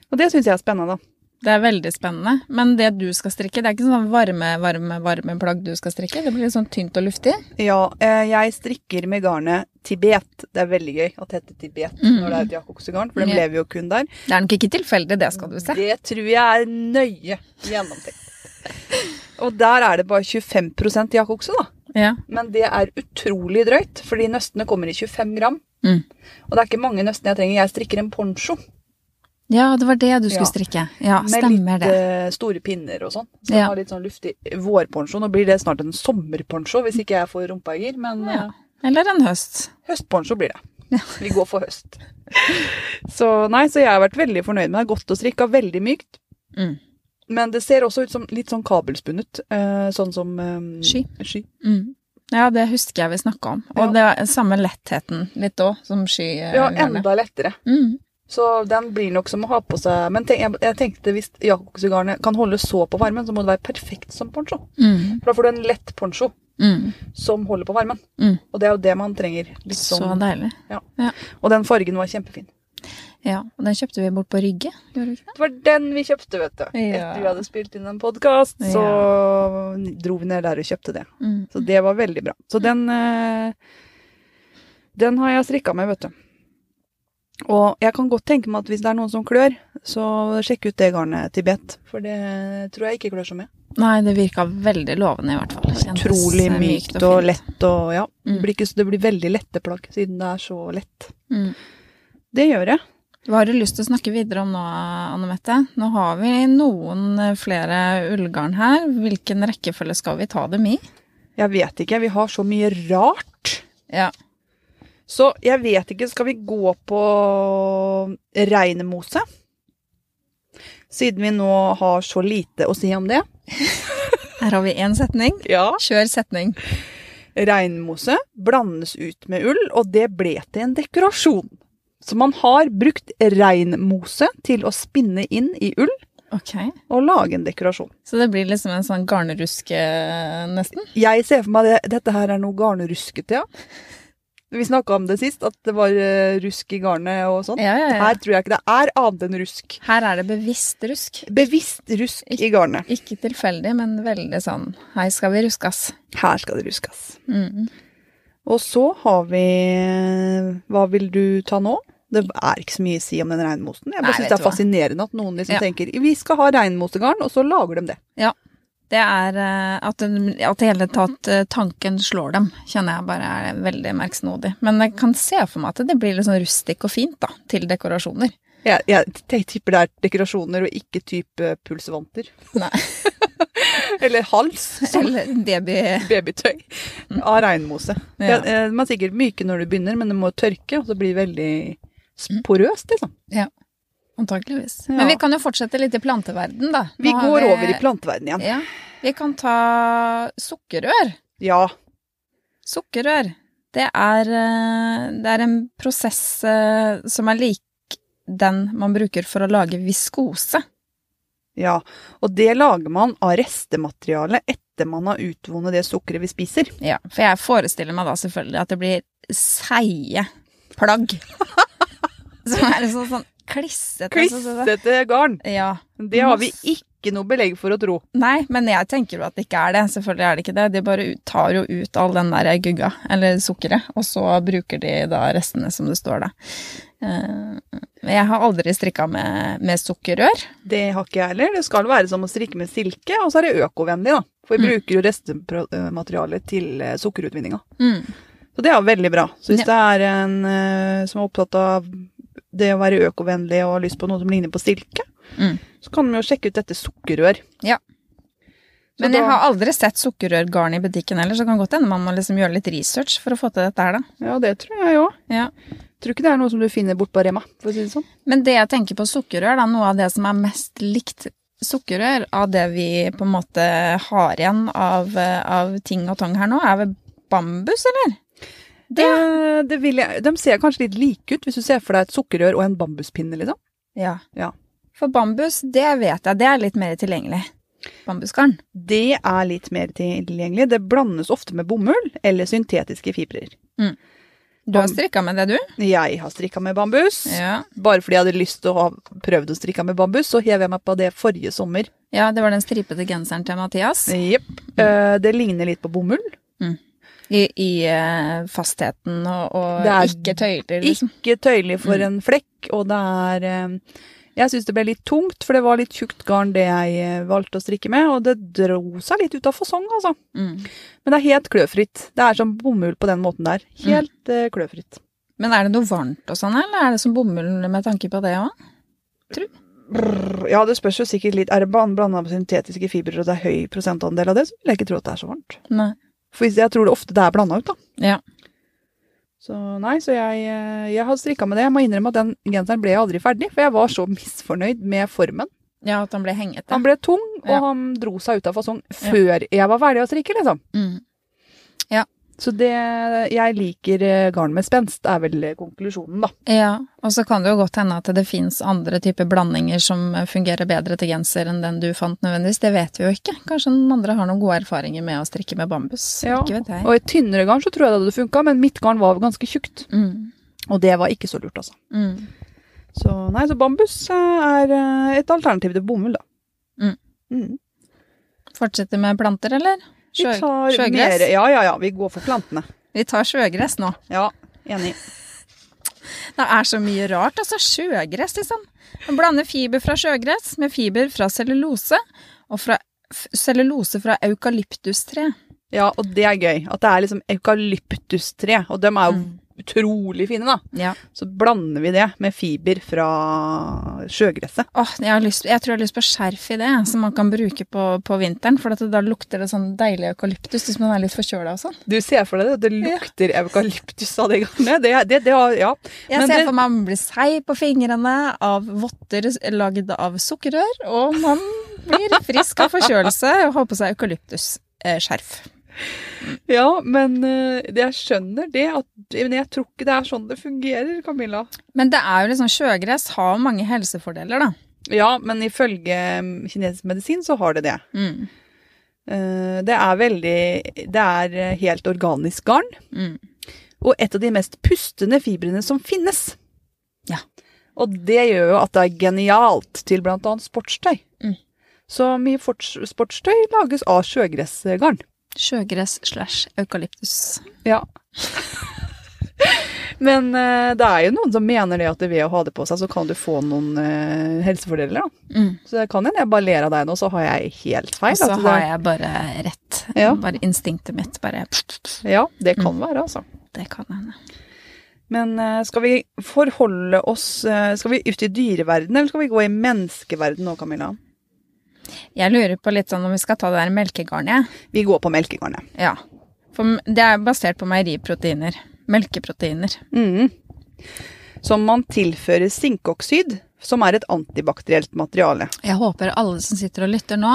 Speaker 2: Og det syns jeg er spennende. da.
Speaker 1: Det er veldig spennende. Men det du skal strikke, det er ikke sånn varme, varme, varme plagg du skal strikke. Det blir litt sånn tynt og luftig.
Speaker 2: Ja, eh, jeg strikker med garnet Tibet. Det er veldig gøy at det heter Tibet
Speaker 1: Mm.
Speaker 2: når det er et jakkoksegarn, for de
Speaker 1: Ja.
Speaker 2: lever jo kun der.
Speaker 1: Det er nok ikke tilfeldig, det skal du se.
Speaker 2: Det tror jeg er nøye gjennomtenkt. Og der er det bare 25 jakokse, da.
Speaker 1: Ja.
Speaker 2: Men det er utrolig drøyt, fordi nøstene kommer i 25 gram.
Speaker 1: Mm.
Speaker 2: Og det er ikke mange nøstene jeg trenger. Jeg strikker en poncho
Speaker 1: ja, det var det du skulle
Speaker 2: Ja.
Speaker 1: strikke. Ja,
Speaker 2: med
Speaker 1: stemmer det.
Speaker 2: litt eh, store pinner og sånn. Så
Speaker 1: Ja.
Speaker 2: jeg har litt sånn luftig vårponcho. Nå blir det snart en sommerponcho hvis ikke jeg får rumpa i gir, men
Speaker 1: Ja.
Speaker 2: eh,
Speaker 1: Eller en høst.
Speaker 2: Høstponcho blir det. Vi går for høst. Så nei, så jeg har vært veldig fornøyd med det. Godt å strikke, og veldig mykt.
Speaker 1: Mm.
Speaker 2: Men det ser også ut som litt sånn kabelspunnet. eh, sånn som eh,
Speaker 1: Sky. Mm. Ja, det husker jeg vi snakka om. Og
Speaker 2: Ja.
Speaker 1: det er samme lettheten litt òg, som sky. eh,
Speaker 2: Ja,
Speaker 1: gjerne.
Speaker 2: enda lettere.
Speaker 1: Mm.
Speaker 2: Så den blir nok som å ha på seg Men tenk, jeg, jeg tenkte hvis jakobsgarnet kan holde så på varmen, så må det være perfekt som poncho.
Speaker 1: Mm.
Speaker 2: For da får du en lett poncho
Speaker 1: Mm.
Speaker 2: som holder på varmen.
Speaker 1: Mm.
Speaker 2: Og det er jo det man trenger. Litt
Speaker 1: Så
Speaker 2: sånn.
Speaker 1: deilig.
Speaker 2: Og den fargen var kjempefin.
Speaker 1: Ja, og den kjøpte vi bort på Rygge, gjorde vi ikke det?
Speaker 2: Det var den vi kjøpte, vet du.
Speaker 1: Ja.
Speaker 2: Etter vi hadde spilt inn en podkast, så dro vi ned der og kjøpte det.
Speaker 1: Mm.
Speaker 2: Så det var veldig bra. Så den eh, Den har jeg strikka med, vet du. Og jeg kan godt tenke meg at hvis det er noen som klør, så sjekk ut det garnet Tibet. For det tror jeg ikke klør så mye.
Speaker 1: Nei, det virka veldig lovende i hvert fall. Kjentes,
Speaker 2: Utrolig
Speaker 1: eh,
Speaker 2: mykt og,
Speaker 1: fint.
Speaker 2: lett og ja.
Speaker 1: Mm.
Speaker 2: Det, blir ikke, så- det blir veldig lette plagg, siden det er så lett.
Speaker 1: Mm.
Speaker 2: Det gjør jeg.
Speaker 1: Hva har du lyst til å snakke videre om nå, Anne Mette? Nå har vi noen eh, flere ullgarn her. Hvilken rekkefølge skal vi ta dem i?
Speaker 2: Jeg vet ikke. Vi har så mye rart.
Speaker 1: Ja.
Speaker 2: Så jeg vet ikke, skal vi gå på regnemose? Siden vi nå har så lite å si om det.
Speaker 1: Her har vi én setning.
Speaker 2: Ja.
Speaker 1: Kjør setning.
Speaker 2: Regnmose blandes ut med ull, og det ble til en dekorasjon. Så man har brukt regnmose til å spinne inn i ull
Speaker 1: Ok.
Speaker 2: og lage en dekorasjon.
Speaker 1: Så det blir liksom en sånn garnruske, eh, nesten?
Speaker 2: Jeg ser for meg det, dette her er noe garnruskete, ja. Vi snakka om det sist, at det var eh, rusk i garnet og sånn.
Speaker 1: Ja, ja, ja.
Speaker 2: Her tror jeg ikke det er annet enn rusk.
Speaker 1: Her er det bevisst rusk.
Speaker 2: Bevisst rusk i garnet.
Speaker 1: Ikke tilfeldig, men veldig sånn Hei, skal vi ruskas?
Speaker 2: Her skal det ruskes.
Speaker 1: Mm.
Speaker 2: Og så har vi Hva vil du ta nå? Det er ikke så mye å si om den regnmosen.
Speaker 1: Nei,
Speaker 2: Jeg bare synes
Speaker 1: vet
Speaker 2: det
Speaker 1: du
Speaker 2: er
Speaker 1: hva.
Speaker 2: fascinerende at noen liksom
Speaker 1: Ja.
Speaker 2: tenker vi skal ha regnmosegarn, og så lager de det.
Speaker 1: Det er eh, at, den- at i hele tatt eh, tanken slår dem, kjenner jeg bare er veldig merksnodig. Men jeg kan se for meg at det blir litt sånn rustikk og fint, da, til dekorasjoner.
Speaker 2: Jeg, jeg t- tipper det er dekorasjoner og ikke type pulsvanter.
Speaker 1: Nei.
Speaker 2: Eller hals, som
Speaker 1: Eller det blir
Speaker 2: babytøy av regnmose.
Speaker 1: ja.
Speaker 2: Ja, eh, de er sikkert myke når du begynner, men de må tørke, og så blir det veldig
Speaker 1: Mm.
Speaker 2: s- porøst, liksom.
Speaker 1: Antakeligvis.
Speaker 2: Ja.
Speaker 1: Men vi kan jo fortsette litt i planteverden, da.
Speaker 2: Vi
Speaker 1: Nå har
Speaker 2: går over i planteverdenen igjen.
Speaker 1: Ja. Vi kan ta sukkerrør.
Speaker 2: Ja.
Speaker 1: Sukkerrør, det er, eh, det er en prosess eh, som er lik den man bruker for å lage viskose.
Speaker 2: Ja, og det lager man av restematerialet etter man har utvunnet det sukkeret vi spiser.
Speaker 1: Ja, for jeg forestiller meg da selvfølgelig at det blir seige plagg. som er sånn, sånn klissete. sånn- sånn-
Speaker 2: Klissete garn.
Speaker 1: Ja.
Speaker 2: Det har vi ikke noe belegg for å tro.
Speaker 1: Nei, men jeg tenker jo at det ikke er det. Selvfølgelig er det ikke det. De bare ut- tar jo ut all den der gugga, eller sukkeret, og så bruker de da restene som det står da. Eh, Jeg har aldri strikka med, med sukkerrør.
Speaker 2: Det har ikke jeg heller. Det skal være som å strikke med silke, og så er det økovennlig, da. For vi
Speaker 1: Mm.
Speaker 2: bruker jo restematerialet til eh, sukkerutvinninga.
Speaker 1: Mm.
Speaker 2: Så det er jo veldig bra. Så hvis det er en eh, som er opptatt av det å være økovennlig og har lyst på noe som ligner på silke,
Speaker 1: Mm.
Speaker 2: så kan vi jo sjekke ut dette sukkerrør.
Speaker 1: Ja.
Speaker 2: Så
Speaker 1: Men
Speaker 2: da,
Speaker 1: jeg har aldri sett sukkerrørgarn i butikken heller, så det kan godt hende man må liksom gjøre litt research for å få til dette her, da.
Speaker 2: Ja, det tror jeg òg.
Speaker 1: Ja.
Speaker 2: Tror ikke det er noe som du finner bort på Rema, for å si det sånn.
Speaker 1: Men det jeg tenker på sukkerrør, da, noe av det som er mest likt sukkerrør av det vi på en måte har igjen av, eh, av ting og tang her nå, er vel bambus, eller? Det-
Speaker 2: Eh, det vil jeg, de ser kanskje litt like ut, hvis du ser for deg et sukkerrør og en bambuspinne, liksom.
Speaker 1: Ja.
Speaker 2: Ja.
Speaker 1: For bambus, det vet jeg, det er litt mer tilgjengelig. Bambusgarn.
Speaker 2: Det er litt mer tilgjengelig. Det blandes ofte med bomull eller syntetiske fibrer.
Speaker 1: Du har
Speaker 2: Bam-
Speaker 1: strikka med det, du?
Speaker 2: Jeg har strikka med bambus.
Speaker 1: Ja.
Speaker 2: Bare fordi jeg hadde lyst til å ha prøvd å strikke med bambus, så hev jeg meg på det forrige sommer.
Speaker 1: ja, det var den stripete genseren til Mathias.
Speaker 2: Jepp. Eh, det ligner litt på bomull.
Speaker 1: I, i eh, fastheten og, og
Speaker 2: Det er
Speaker 1: ikke tøyler, liksom.
Speaker 2: Ikke tøyelig for
Speaker 1: Mm.
Speaker 2: en flekk, og det er eh, Jeg syns det ble litt tungt, for det var litt tjukt garn det jeg eh, valgte å strikke med, og det dro seg litt ut av fasong, altså.
Speaker 1: Mm.
Speaker 2: Men det er helt kløfritt. Det er som bomull på den måten der. Helt eh, kløfritt.
Speaker 1: Men er det noe varmt og sånn, eller er det som bomull med tanke på det òg?
Speaker 2: Brrr, Ja, det spørs jo sikkert litt. Er det blanda med syntetiske fibre og det er høy prosentandel av det, så vil jeg ikke tro at det er så varmt.
Speaker 1: Nei.
Speaker 2: For hvis- jeg tror det ofte det er blanda ut, da.
Speaker 1: Ja.
Speaker 2: Så nei, så jeg, eh, jeg har strikka med det. Jeg må innrømme at den genseren ble jeg aldri ferdig, for jeg var så misfornøyd med formen.
Speaker 1: Ja, at han ble hengete.
Speaker 2: Han ble tung, og
Speaker 1: Ja.
Speaker 2: han dro seg ut av fasong før jeg var ferdig å strikke, liksom.
Speaker 1: Mm.
Speaker 2: Så det Jeg liker eh, garn med spenst, er vel eh, konklusjonen, da.
Speaker 1: Ja, og så kan det jo godt hende at det fins andre typer blandinger som eh, fungerer bedre til genser enn den du fant nødvendigvis. Det vet vi jo ikke. Kanskje noen andre har noen gode erfaringer med å strikke med bambus.
Speaker 2: Ja,
Speaker 1: Ikke vet jeg.
Speaker 2: Og i tynnere garn så tror jeg det hadde funka, men mitt garn var ganske tjukt.
Speaker 1: Mm.
Speaker 2: Og det var ikke så lurt, altså.
Speaker 1: Mm.
Speaker 2: Så nei, så bambus eh, er eh, et alternativ til bomull, da.
Speaker 1: Mm.
Speaker 2: Mm.
Speaker 1: Fortsetter med planter, eller?
Speaker 2: Vi
Speaker 1: Sjø-
Speaker 2: tar
Speaker 1: sjøgress?
Speaker 2: mer Ja, ja, ja. Vi går for plantene.
Speaker 1: Vi tar sjøgress nå.
Speaker 2: Ja, enig.
Speaker 1: Det er så mye rart. Altså, sjøgress, liksom. Man blander fiber fra sjøgress med fiber fra cellulose, og fra f cellulose fra eukalyptustre.
Speaker 2: Ja, og det er gøy. At det er liksom eukalyptustre, og dem er jo utrolig fine, da.
Speaker 1: Ja.
Speaker 2: Så blander vi det med fiber fra sjøgresset.
Speaker 1: Åh, jeg, har lyst, jeg tror jeg har lyst på skjerf i det, som man kan bruke på, på vinteren. For at det, da lukter det sånn deilig eukalyptus hvis man er litt forkjøla og sånn.
Speaker 2: Du ser for deg det, det lukter eukalyptus av det garnet. Det, det, det, har- ja.
Speaker 1: Jeg
Speaker 2: Men
Speaker 1: ser
Speaker 2: det-
Speaker 1: for meg man blir seig på fingrene av votter lagd av sukkerrør, og man blir frisk av forkjølelse og har på seg eukalyptusskjerf.
Speaker 2: ja, men eh, det jeg skjønner det at Men jeg tror ikke det er sånn det fungerer, Camilla.
Speaker 1: Men det er jo liksom sjøgress har jo mange helsefordeler, da.
Speaker 2: Ja, men ifølge mm, kinesisk medisin så har det det.
Speaker 1: Mm.
Speaker 2: Eh, Det er veldig Det er eh, helt organisk garn.
Speaker 1: Mm.
Speaker 2: Og et av de mest pustende fibrene som finnes.
Speaker 1: Ja.
Speaker 2: Og det gjør jo at det er genialt til blant annet sportstøy.
Speaker 1: Mm.
Speaker 2: Så mye forts- sportstøy lages av sjøgressgarn.
Speaker 1: Sjøgress slash eukalyptus.
Speaker 2: Ja. Men eh, det er jo noen som mener det at ved å ha det på seg, så kan du få noen eh, helsefordeler, da.
Speaker 1: Mm.
Speaker 2: Så det kan hende jeg bare ler av deg nå, så har jeg helt feil.
Speaker 1: Og så
Speaker 2: at det-
Speaker 1: har jeg bare rett.
Speaker 2: Ja.
Speaker 1: Bare instinktet mitt bare
Speaker 2: Ja, det kan
Speaker 1: Mm.
Speaker 2: være, altså.
Speaker 1: Det kan hende.
Speaker 2: Men eh, skal vi forholde oss eh, Skal vi ut i dyreverdenen, eller skal vi gå i menneskeverdenen nå, Camilla?
Speaker 1: Jeg lurer på litt sånn om vi skal ta det der melkegarnet.
Speaker 2: Vi går på melkegarnet.
Speaker 1: Ja. For det er basert på meieriproteiner. Melkeproteiner.
Speaker 2: Mhm. Som man tilfører sinkoksid, som er et antibakterielt materiale.
Speaker 1: Jeg håper alle som sitter og lytter nå,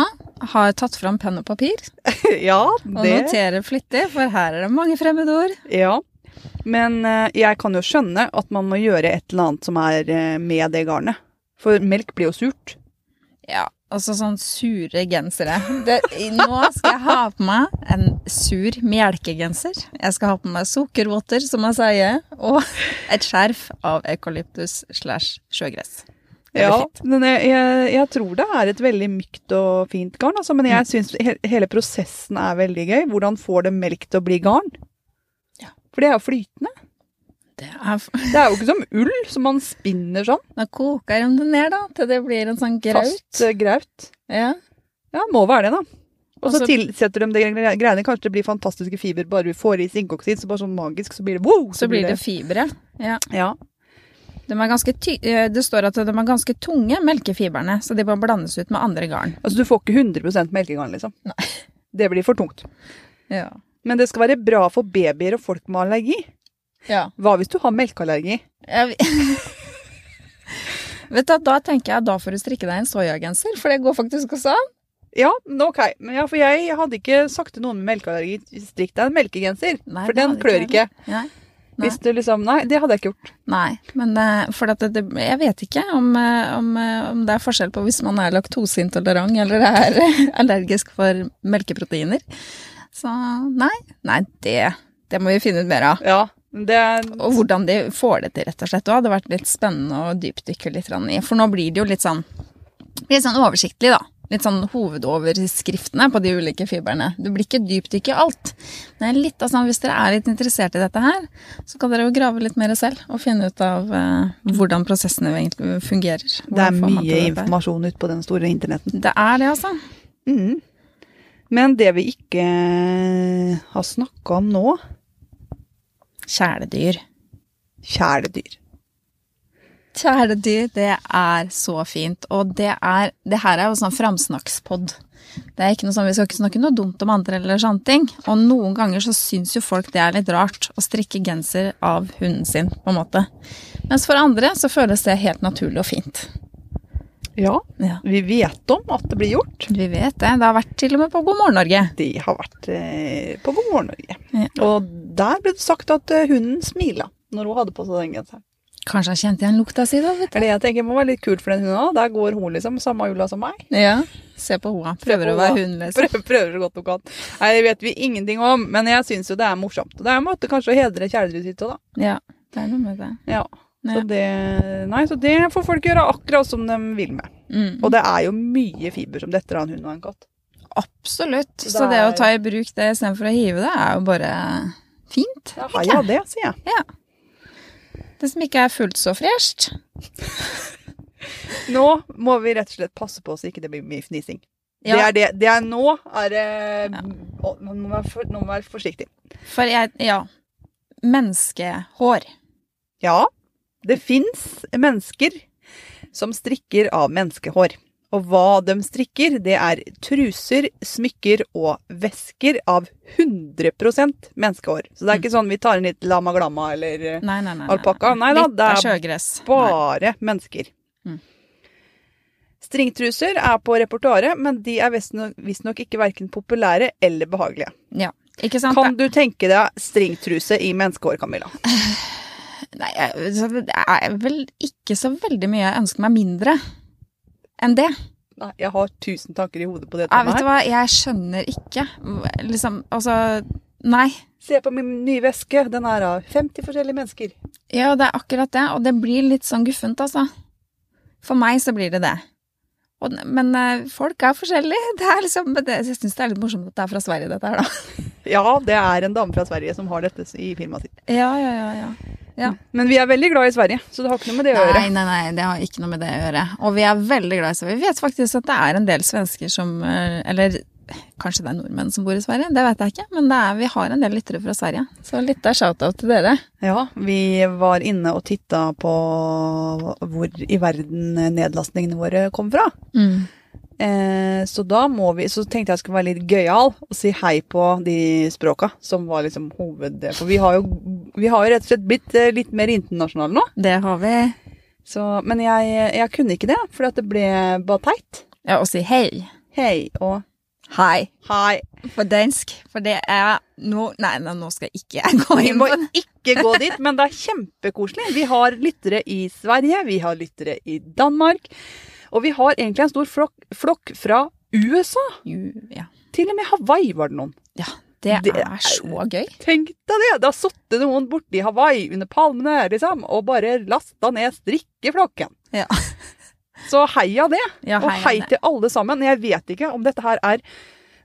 Speaker 1: har tatt fram penn og papir
Speaker 2: ja,
Speaker 1: og
Speaker 2: det
Speaker 1: noterer flittig, for her er det mange fremmedord.
Speaker 2: ja. Men eh, jeg kan jo skjønne at man må gjøre et eller annet som er eh, med det garnet. For melk blir jo surt.
Speaker 1: Ja, altså sånn sure gensere. Det, i- nå skal jeg ha på meg en sur melkegenser. Jeg skal ha på meg sukkervotter, som jeg sier, og et skjerf av eukalyptus slash sjøgress. Det blir fint.
Speaker 2: men jeg, jeg, jeg tror det er et veldig mykt og fint garn, altså, men jeg syns he hele prosessen er veldig gøy. Hvordan får det melk til å bli garn?
Speaker 1: Ja.
Speaker 2: For det er jo flytende.
Speaker 1: Det er, f-
Speaker 2: Det er jo ikke som ull, som man spinner sånn.
Speaker 1: nå koker de det ned, da, til det blir en sånn graut.
Speaker 2: Fast eh, graut.
Speaker 1: Ja.
Speaker 2: Ja, må være det, da. Og så
Speaker 1: Altså-
Speaker 2: tilsetter de de gre- greiene. Kanskje det blir fantastiske fiber bare du får i sinkoksid. Så bare sånn magisk, så blir det wow!
Speaker 1: Så blir det fibre. Ja.
Speaker 2: Ja.
Speaker 1: De er ganske ty eh, det står at de er ganske tunge, melkefibrene, så de må blandes ut med andre garn.
Speaker 2: Altså, du får ikke 100 melkegarn, liksom.
Speaker 1: Nei.
Speaker 2: Det blir for tungt.
Speaker 1: Ja.
Speaker 2: Men det skal være bra for babyer og folk med allergi.
Speaker 1: ja.
Speaker 2: Hva hvis du har melkeallergi?
Speaker 1: Jeg... Vet du, hva, Da tenker jeg da får du strikke deg en soyagenser, for det går faktisk også an.
Speaker 2: Ja, men ok. Men ja, for jeg hadde ikke sagt til noen med melkeallergi strikk deg en melkegenser.
Speaker 1: Nei,
Speaker 2: for
Speaker 1: det
Speaker 2: den
Speaker 1: hadde
Speaker 2: klør
Speaker 1: jeg
Speaker 2: ikke.
Speaker 1: Nei. Nei.
Speaker 2: Hvis du liksom, nei, det hadde jeg ikke gjort.
Speaker 1: Nei, men eh, for at det, det- jeg vet ikke om, eh, om, eh, om det er forskjell på hvis man er laktoseintolerant eller er allergisk for melkeproteiner. Så nei, nei det, det må vi finne ut mer av.
Speaker 2: Ja, men det er...
Speaker 1: Og hvordan de får det til, rett og slett. Det hadde vært litt spennende å dypdykke litt grann i. For nå blir det jo litt sånn, litt sånn oversiktlig, da. litt sånn hovedoverskriftene på de ulike fiberne. Det blir ikke dypdykk i alt. Men litt, av sånn, hvis dere er litt interessert i dette her, så kan dere jo grave litt mer selv og finne ut av eh, hvordan prosessene egentlig fungerer.
Speaker 2: Det er
Speaker 1: Hvordan får man
Speaker 2: mye
Speaker 1: til dette her.
Speaker 2: informasjon ute på den store internetten.
Speaker 1: Det er det, altså.
Speaker 2: Mhm. Men det vi ikke eh, har snakka om nå,
Speaker 1: Kjæledyr.
Speaker 2: kjæledyr.
Speaker 1: Kjæledyr, det er så fint. Og det er Det her er jo sånn framsnakkspod. Det er ikke noe sånn, Vi skal ikke snakke noe dumt om andre eller sånne ting. Og noen ganger så syns jo folk det er litt rart å strikke genser av hunden sin, på en måte. Mens for andre så føles det helt naturlig og fint.
Speaker 2: Ja,
Speaker 1: Ja.
Speaker 2: vi vet om at det blir gjort.
Speaker 1: Vi vet det. Det har vært til og med på God morgen Norge.
Speaker 2: De har vært eh, på God morgen Norge.
Speaker 1: Ja.
Speaker 2: Og der ble det sagt at eh, hunden smila når hun hadde på seg den genseren.
Speaker 1: Kanskje han kjente igjen lukta si, da. vet
Speaker 2: Det er det jeg tenker må være litt kult for den hunden òg. Der går hun liksom samme jula som meg.
Speaker 1: du. Ja. Se på hoa. Prøver å være hund, liksom.
Speaker 2: Prøver, prøver så godt hun kan. Nei, det vet vi ingenting om, men jeg syns jo det er morsomt. Og det er en måte kanskje å hedre kjæledyret sitt òg, da.
Speaker 1: Ja. Det er noe med det.
Speaker 2: Ja. Så
Speaker 1: Ja.
Speaker 2: det, nei, så det får folk gjøre akkurat som de vil med.
Speaker 1: Mm.
Speaker 2: Og det er jo mye fiber som detter av en hund og en katt.
Speaker 1: Absolutt.
Speaker 2: Så
Speaker 1: Så
Speaker 2: det
Speaker 1: det å
Speaker 2: er-
Speaker 1: ta i bruk det istedenfor å hive det, er jo bare fint.
Speaker 2: Ja, ja det, sier jeg.
Speaker 1: Det som ikke er fullt så fresht.
Speaker 2: Nå må vi rett og slett passe på så ikke det blir mye fnising. Det
Speaker 1: Ja,
Speaker 2: er det. Det er nå er det Å, Nå må man være for- nå må man være forsiktig.
Speaker 1: for jeg Ja. Menneskehår.
Speaker 2: Ja, det fins mennesker som strikker av menneskehår. Og hva de strikker, det er truser, smykker og vesker av 100 menneskehår. Så det
Speaker 1: Mm.
Speaker 2: er ikke sånn vi tar inn litt lama glamma eller eh,
Speaker 1: Nei, nei, nei.
Speaker 2: Alpakka? Nei da,
Speaker 1: Litt av
Speaker 2: det er
Speaker 1: sjøgress. Mm. Nei.
Speaker 2: bare mennesker.
Speaker 1: Mm.
Speaker 2: Stringtruser er på repertoaret, men de er visstnok visstnok ikke verken populære eller behagelige.
Speaker 1: Ikke sant?
Speaker 2: Kan du tenke deg stringtruse i menneskehår, Camilla?
Speaker 1: Nei, jeg, så det er vel ikke så veldig mye jeg ønsker meg mindre enn det.
Speaker 2: Nei, jeg har tusen tanker i hodet på det.
Speaker 1: Jeg,
Speaker 2: temaet
Speaker 1: vet
Speaker 2: her.
Speaker 1: du hva, jeg skjønner ikke. Liksom, altså Nei.
Speaker 2: Se på min nye veske. Den er av 50 forskjellige mennesker.
Speaker 1: Ja, det er akkurat det, og det blir litt sånn guffent, altså. For meg så blir det det. Og, men eh, folk er forskjellige. Det er liksom, men det, jeg syns det er litt morsomt at det er fra Sverige, dette her, da.
Speaker 2: Ja, det er en dame fra Sverige som har dette i firmaet sitt.
Speaker 1: Ja, ja, ja, ja.
Speaker 2: Men vi er veldig glad i Sverige, så det har ikke noe med det å gjøre.
Speaker 1: Nei, nei, nei, det har ikke noe med det å gjøre. Og vi er veldig glad i Sverige. Vi vet faktisk at det er en del svensker som eh, Eller kanskje det er nordmenn som bor i Sverige, det vet jeg ikke. Men det er, vi har en del lyttere fra Sverige. Så litt av shout-out til dere.
Speaker 2: Ja, vi var inne og titta på hvor i verden nedlastningene våre kom fra.
Speaker 1: Mm.
Speaker 2: Eh, så da må vi, så tenkte jeg skulle være litt gøyal og si hei på de språka som var liksom hoved... For vi har jo, vi har jo rett og slett blitt eh, litt mer internasjonale nå.
Speaker 1: Det har vi.
Speaker 2: Så, men jeg, jeg kunne ikke det, for det ble bare teit.
Speaker 1: Ja, og si hei.
Speaker 2: Hei og
Speaker 1: Hei.
Speaker 2: hei.
Speaker 1: På dansk, for det er nå Nei, nei, nå skal ikke jeg gå
Speaker 2: Vi
Speaker 1: inn
Speaker 2: må
Speaker 1: på det.
Speaker 2: ikke gå dit, men det er kjempekoselig. Vi har lyttere i Sverige, vi har lyttere i Danmark, og vi har egentlig en stor flokk, flokk fra USA.
Speaker 1: Ju- Ja.
Speaker 2: Til og med Hawaii var det noen.
Speaker 1: ja, det,
Speaker 2: Det er-
Speaker 1: er så gøy.
Speaker 2: Tenk deg det! Da satt det noen borti Hawaii under palmene liksom, og bare lasta ned strikkeflokken.
Speaker 1: Ja.
Speaker 2: Så heia det,
Speaker 1: Ja,
Speaker 2: og hei
Speaker 1: Anne.
Speaker 2: til alle sammen. Jeg vet ikke om dette her er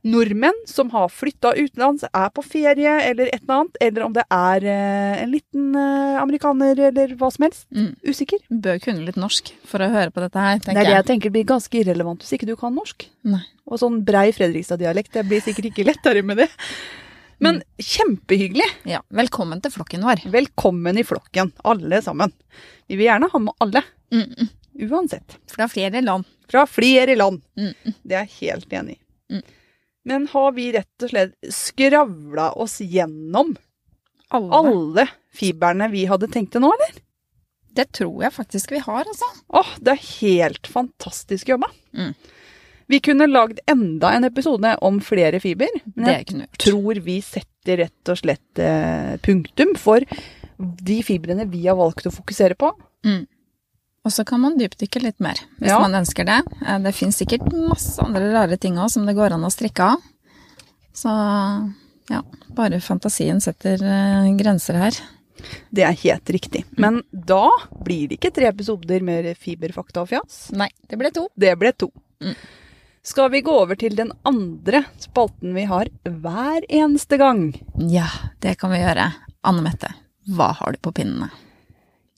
Speaker 2: nordmenn som har flytta utenlands, er på ferie eller et eller annet, eller om det er eh, en liten eh, amerikaner eller hva som helst.
Speaker 1: Mm.
Speaker 2: Usikker.
Speaker 1: Hun Bør kunne litt norsk for å høre på dette her,
Speaker 2: Det er
Speaker 1: tenker
Speaker 2: det
Speaker 1: jeg.
Speaker 2: jeg tenker blir ganske irrelevant hvis ikke du kan norsk.
Speaker 1: Nei.
Speaker 2: Og sånn brei Fredrikstad-dialekt, det blir sikkert ikke lettere med det.
Speaker 1: Mm.
Speaker 2: Men kjempehyggelig.
Speaker 1: Ja, velkommen til flokken vår.
Speaker 2: Velkommen i flokken, alle sammen. Vi vil gjerne ha med alle,
Speaker 1: Mm, mm,
Speaker 2: uansett.
Speaker 1: fra flere land.
Speaker 2: Fra flere land.
Speaker 1: Mm, mm.
Speaker 2: Det er jeg helt enig i.
Speaker 1: Mm.
Speaker 2: Men har vi rett og slett skravla oss gjennom
Speaker 1: Alle.
Speaker 2: alle fiberne vi hadde tenkt til nå, eller?
Speaker 1: Det tror jeg faktisk vi har, altså.
Speaker 2: Åh, det er helt fantastisk jobba.
Speaker 1: Mm.
Speaker 2: Vi kunne lagd enda en episode om flere fiber, men jeg
Speaker 1: Det kunne vi gjort.
Speaker 2: tror vi setter rett og slett eh, punktum for de fibrene vi har valgt å fokusere på.
Speaker 1: Og så kan man dypdykke litt mer, hvis
Speaker 2: Ja.
Speaker 1: man ønsker det. Eh, Det fins sikkert masse andre rare ting òg som det går an å strikke av. Så ja, bare fantasien setter eh, grenser her.
Speaker 2: Det er helt riktig.
Speaker 1: Mm.
Speaker 2: Men da blir det ikke tre episoder med fiberfakta og fjas.
Speaker 1: Nei, det ble to.
Speaker 2: Det ble to.
Speaker 1: Mm.
Speaker 2: Skal vi gå over til den andre spalten vi har hver eneste gang?
Speaker 1: Ja, det kan vi gjøre. Anne Mette, hva har du på pinnene?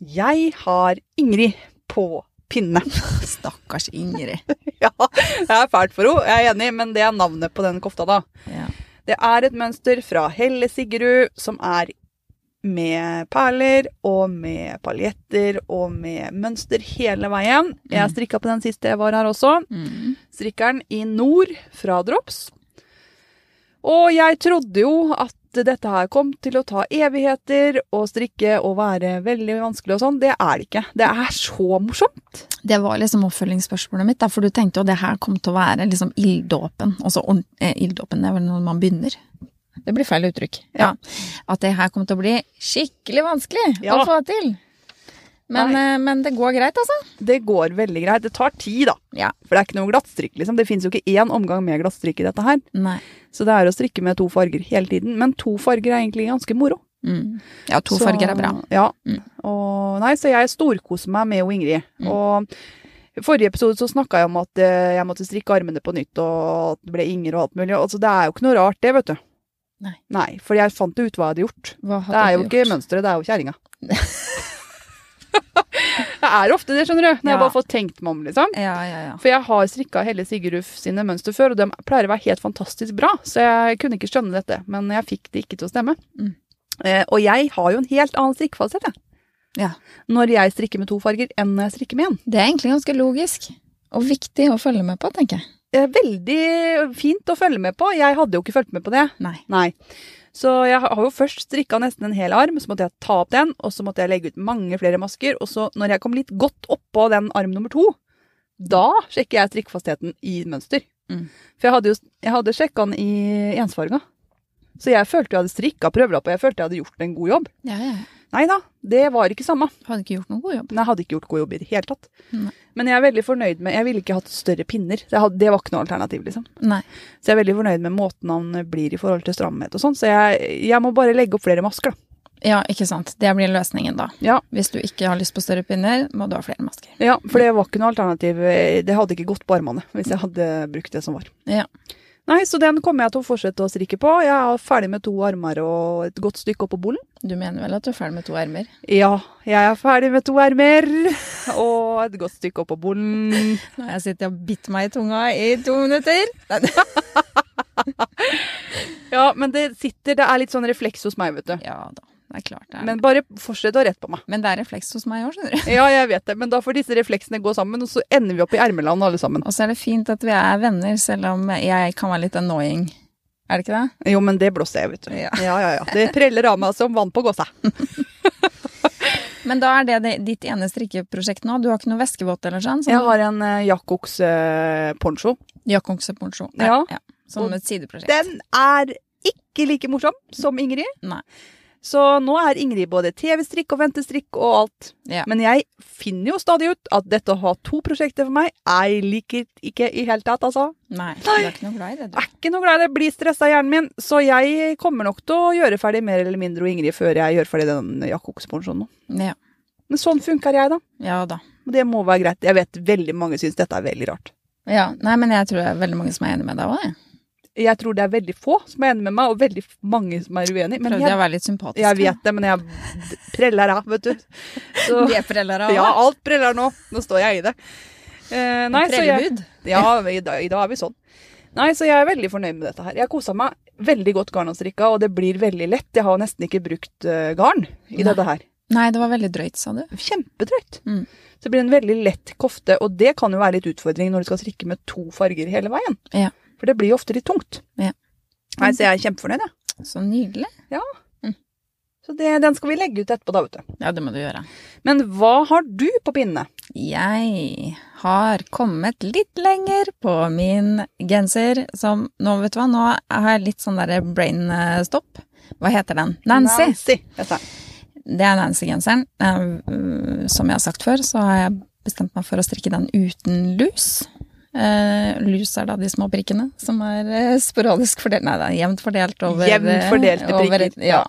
Speaker 2: Jeg har Ingrid på pinne.
Speaker 1: Stakkars Ingrid.
Speaker 2: ja, det er fælt for henne, jeg er enig, men det er navnet på den kofta, da.
Speaker 1: Ja.
Speaker 2: Det er et mønster fra Helle Sigrud som er med perler og med paljetter og med mønster hele veien. Jeg
Speaker 1: Mm.
Speaker 2: strikka på den siste jeg var her også.
Speaker 1: Mm.
Speaker 2: Strikkeren i nord fra Drops. Og jeg trodde jo at dette her kom til å ta evigheter og strikke og være veldig vanskelig og sånn. Det er det ikke. Det er så morsomt.
Speaker 1: Det var liksom oppfølgingsspørsmålet mitt, da, for du tenkte jo det her kom til å være liksom ilddåpen. Altså ordent- eh, ilddåpen, det er vel når man begynner. Det blir feil uttrykk. Ja. At det her kom til å bli skikkelig vanskelig
Speaker 2: Ja.
Speaker 1: å få til. Men, eh, men det går greit, altså.
Speaker 2: Det går veldig greit. Det tar tid, da.
Speaker 1: Ja.
Speaker 2: For det er ikke noe glattstrikk, liksom. Det fins jo ikke én omgang med glattstrikk i dette her.
Speaker 1: Nei.
Speaker 2: Så det er å strikke med to farger hele tiden. Men to farger er egentlig ganske moro.
Speaker 1: Mm. Ja, to
Speaker 2: Så-
Speaker 1: farger er bra.
Speaker 2: Ja.
Speaker 1: Mm.
Speaker 2: Og, nei, så jeg storkoser meg med hun Ingrid.
Speaker 1: Mm.
Speaker 2: Og i forrige episode så snakka jeg om at eh, jeg måtte strikke armene på nytt, og at det ble inger og alt mulig. Altså, det er jo ikke noe rart, det, vet du.
Speaker 1: Nei.
Speaker 2: Nei, for jeg fant jo ut hva jeg hadde gjort.
Speaker 1: Hva hadde
Speaker 2: Det er
Speaker 1: du
Speaker 2: jo ikke
Speaker 1: gjort?
Speaker 2: mønsteret, det er jo kjerringa. det er ofte det, skjønner du. Når
Speaker 1: Ja.
Speaker 2: jeg bare får tenkt meg om, liksom.
Speaker 1: Ja, ja, ja.
Speaker 2: For jeg har strikka Helle Sigurd sine mønster før, og de pleier å være helt fantastisk bra, så jeg kunne ikke skjønne dette. Men jeg fikk det ikke til å stemme.
Speaker 1: Mm.
Speaker 2: Eh, og jeg har jo en helt annen strikkefasett, jeg.
Speaker 1: Ja.
Speaker 2: Når jeg strikker med to farger enn når jeg strikker med én.
Speaker 1: Det er egentlig ganske logisk. Og viktig å følge med på, tenker jeg.
Speaker 2: Det er veldig fint å følge med på. Jeg hadde jo ikke fulgt med på det.
Speaker 1: Nei.
Speaker 2: Nei. Så jeg har jo først strikka nesten en hel arm, så måtte jeg ta opp den, og så måtte jeg legge ut mange flere masker, og så når jeg kom litt godt oppå den arm nummer to, da sjekker jeg strikkfastheten i mønster.
Speaker 1: Mm.
Speaker 2: For jeg hadde jo jeg hadde sjekka den i ensfarga. Så jeg følte jeg hadde strikka prøvelapp, og jeg følte jeg hadde gjort en god jobb.
Speaker 1: Ja, ja.
Speaker 2: Nei da, det var ikke samme.
Speaker 1: Hadde ikke gjort noen god jobb.
Speaker 2: Men jeg hadde ikke gjort god jobb i det hele tatt.
Speaker 1: Nei.
Speaker 2: Men jeg er veldig fornøyd med Jeg ville ikke hatt større pinner. Det, hadde, det var ikke noe alternativ, liksom.
Speaker 1: Nei.
Speaker 2: Så jeg er veldig fornøyd med måten han blir i forhold til stramhet og sånn. Så jeg, jeg må bare legge opp flere masker, da.
Speaker 1: Ja, ikke sant. Det blir løsningen, da.
Speaker 2: Ja.
Speaker 1: Hvis du ikke har lyst på større pinner, må du ha flere masker.
Speaker 2: Ja, for det var ikke noe alternativ. Det hadde ikke gått på armene hvis jeg hadde brukt det som var.
Speaker 1: Ja.
Speaker 2: Nei, så den kommer jeg til å fortsette å strikke på. Jeg er ferdig med to armer og et godt stykke oppå bollen.
Speaker 1: Du mener vel at du er ferdig med to ermer?
Speaker 2: Ja, jeg er ferdig med to ermer og et godt stykke oppå bollen.
Speaker 1: Nå har jeg sittet og bitt meg i tunga i to minutter.
Speaker 2: Ja, men det sitter. Det er litt sånn refleks hos meg, vet du.
Speaker 1: Ja da, det er klart det. Men,
Speaker 2: Men bare fortsett å rette på meg.
Speaker 1: Men det er refleks hos meg òg, skjønner du.
Speaker 2: Ja, jeg vet det, men da får disse refleksene gå sammen, og så ender vi opp i ermeland alle sammen.
Speaker 1: Og så er det fint at vi er venner, selv om jeg kan være litt annoying. Er det ikke det?
Speaker 2: Jo, men det blåser jeg, vet du.
Speaker 1: Ja.
Speaker 2: ja, ja. ja. Det preller av meg som vann på gåsa.
Speaker 1: Men da er det det- ditt ene strikkeprosjekt nå. Du har ikke noe veskevåt eller sånn?
Speaker 2: Jeg har en uh, Jacobs eh, poncho.
Speaker 1: Jakobseponcho.
Speaker 2: Ja.
Speaker 1: ja. Som
Speaker 2: Og
Speaker 1: et sideprosjekt.
Speaker 2: Den er ikke like morsom som Ingrid.
Speaker 1: Nei.
Speaker 2: Så nå er Ingrid både TV-strikk og ventestrikk og alt.
Speaker 1: Ja.
Speaker 2: Men jeg finner jo stadig ut at dette å ha to prosjekter for meg, jeg liker ikke i hele tatt, altså.
Speaker 1: Nei, Ah. du er ikke noe glad i det, du.
Speaker 2: Jeg er ikke noe glad i det, blir stressa i hjernen min. Så jeg kommer nok til å gjøre ferdig mer eller mindre og Ingrid før jeg gjør ferdig den Jacobs-ponchoen nå.
Speaker 1: Ja,
Speaker 2: Men sånn funker jeg, da.
Speaker 1: ja da.
Speaker 2: Og det må være greit. Jeg vet veldig mange syns dette er veldig rart.
Speaker 1: Ja, nei, men jeg tror det er veldig mange som er enig med deg òg, jeg.
Speaker 2: Jeg tror det er veldig få som er enig med meg, og veldig mange som er uenig. Men
Speaker 1: Prøvde jeg
Speaker 2: jeg,
Speaker 1: å være litt sympatisk.
Speaker 2: jeg vet det, men jeg preller av, vet du. Så,
Speaker 1: Det preller av.
Speaker 2: ja, alt preller nå. Nå står jeg i det. Eh, nei, så jeg,
Speaker 1: Prellebud.
Speaker 2: ja, i dag, i dag er vi sånn. Nei, så jeg er veldig fornøyd med dette her. Jeg kosa meg veldig godt garn og strikka, og det blir veldig lett. Jeg har nesten ikke brukt eh, garn i
Speaker 1: Nei.
Speaker 2: dette her.
Speaker 1: Nei, det var veldig drøyt, sa du.
Speaker 2: Kjempedrøyt.
Speaker 1: Mm.
Speaker 2: Så det blir en veldig lett kofte, og det kan jo være litt utfordring når du skal strikke med to farger hele veien.
Speaker 1: Ja.
Speaker 2: For det blir jo ofte litt tungt.
Speaker 1: Ja.
Speaker 2: Nei, så jeg er kjempefornøyd, jeg.
Speaker 1: Så nydelig.
Speaker 2: Så det, den skal vi legge ut etterpå, da, vet du.
Speaker 1: Ja, det må du gjøre.
Speaker 2: Men hva har du på pinnene?
Speaker 1: Jeg har kommet litt lenger på min genser som Nå, vet du hva, nå har jeg litt sånn derre brainstopp. Hva heter den? Nancy.
Speaker 2: heter den.
Speaker 1: Det er Nancy-genseren. Eh, mm, Som jeg har sagt før, så har jeg bestemt meg for å strikke den uten lus. Eh, lus er da de små prikkene som er eh, sporadisk fordelt Nei, det er jevnt fordelt over
Speaker 2: Jevnt fordelte
Speaker 1: eh, over-
Speaker 2: prikker,
Speaker 1: ja.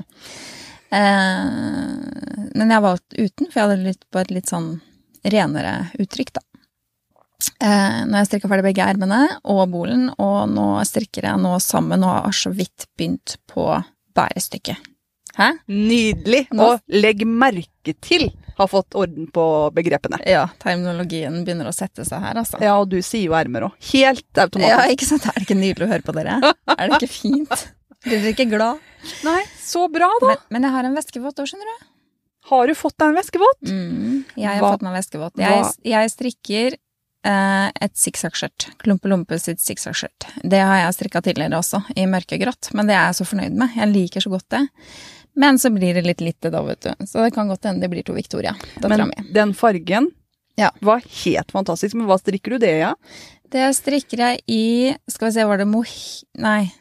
Speaker 1: Eh, men jeg valgte uten, for jeg hadde lyst på et litt sånn renere uttrykk, da. eh, når jeg strikka ferdig begge ermene og bolen, og nå strikker jeg nå sammen og har så vidt begynt på bærestykket. Hæ?
Speaker 2: Nydelig.
Speaker 1: Nå-
Speaker 2: Og legg merke til har fått orden på begrepene.
Speaker 1: Ja, terminologien begynner å sette seg her, altså.
Speaker 2: Ja, og du sier jo ermer òg. Helt
Speaker 1: Ja,
Speaker 2: automatisk.
Speaker 1: ikke sant? Er det ikke nydelig å høre på dere? Er det ikke fint? Blir dere ikke glad?
Speaker 2: Nei, så bra, da.
Speaker 1: Men, men jeg har en veskevåt òg, skjønner du.
Speaker 2: Har du fått deg en veskevåt?
Speaker 1: Mm, Jeg har
Speaker 2: Hva-
Speaker 1: fått meg veskevåt. Jeg,
Speaker 2: hva-
Speaker 1: jeg strikker eh, et sikksakk-skjørt. Klumpe Lompe sitt sikksakk-skjørt. Det har jeg strikka tidligere også, i mørkegrått. Men det er jeg så fornøyd med. Jeg liker så godt det. Men så blir det litt lite da, vet du. Så det kan godt hende det blir to Victoria. Dattera
Speaker 2: Men
Speaker 1: mi.
Speaker 2: den fargen
Speaker 1: Ja.
Speaker 2: var helt fantastisk. Men hva strikker du det i? Ja?
Speaker 1: Det strikker jeg i Skal vi se, var det moh... Nei.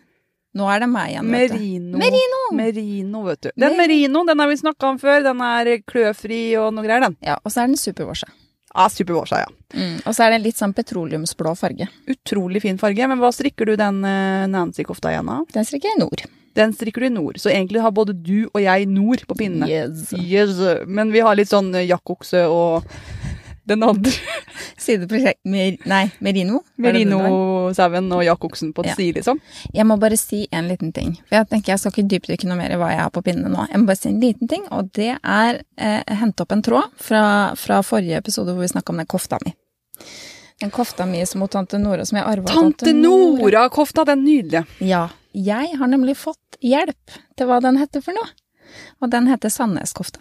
Speaker 1: Nå er det meg igjen, vet du.
Speaker 2: Merino.
Speaker 1: Merino!
Speaker 2: Merino, vet du. Den
Speaker 1: Mer-
Speaker 2: merino den har vi snakka om før. Den er kløfri og noe greier, den.
Speaker 1: Ja, og så er den supervårsa.
Speaker 2: Ja, Supervårsa, ja.
Speaker 1: Mm, og så er det litt sånn petroleumsblå farge.
Speaker 2: Utrolig fin farge. Men hva strikker du den eh, Nancy-kofta igjen av?
Speaker 1: Den strikker jeg i nord.
Speaker 2: Den strikker du i nord. Så egentlig har både du og jeg nord på pinnene.
Speaker 1: Yes.
Speaker 2: Yes. Men vi har litt sånn eh, jakkokse og den andre
Speaker 1: Sideprosjekt mer, Nei, merino. Var det det det var?
Speaker 2: merinosauen og jakkoksen på et
Speaker 1: Ja.
Speaker 2: side, liksom.
Speaker 1: Jeg må bare si en liten ting. For jeg tenker jeg skal ikke dypdykke noe mer i hva jeg har på pinnene nå. Jeg må bare si en liten ting, og det er eh, hente opp en tråd fra, fra forrige episode hvor vi snakka om den kofta mi. Den kofta mi som mot tante Nora som jeg arva
Speaker 2: Tante Nora-kofta, den nydelige.
Speaker 1: Ja. Jeg har nemlig fått hjelp til hva den heter for noe. Og den heter Sandneskofta.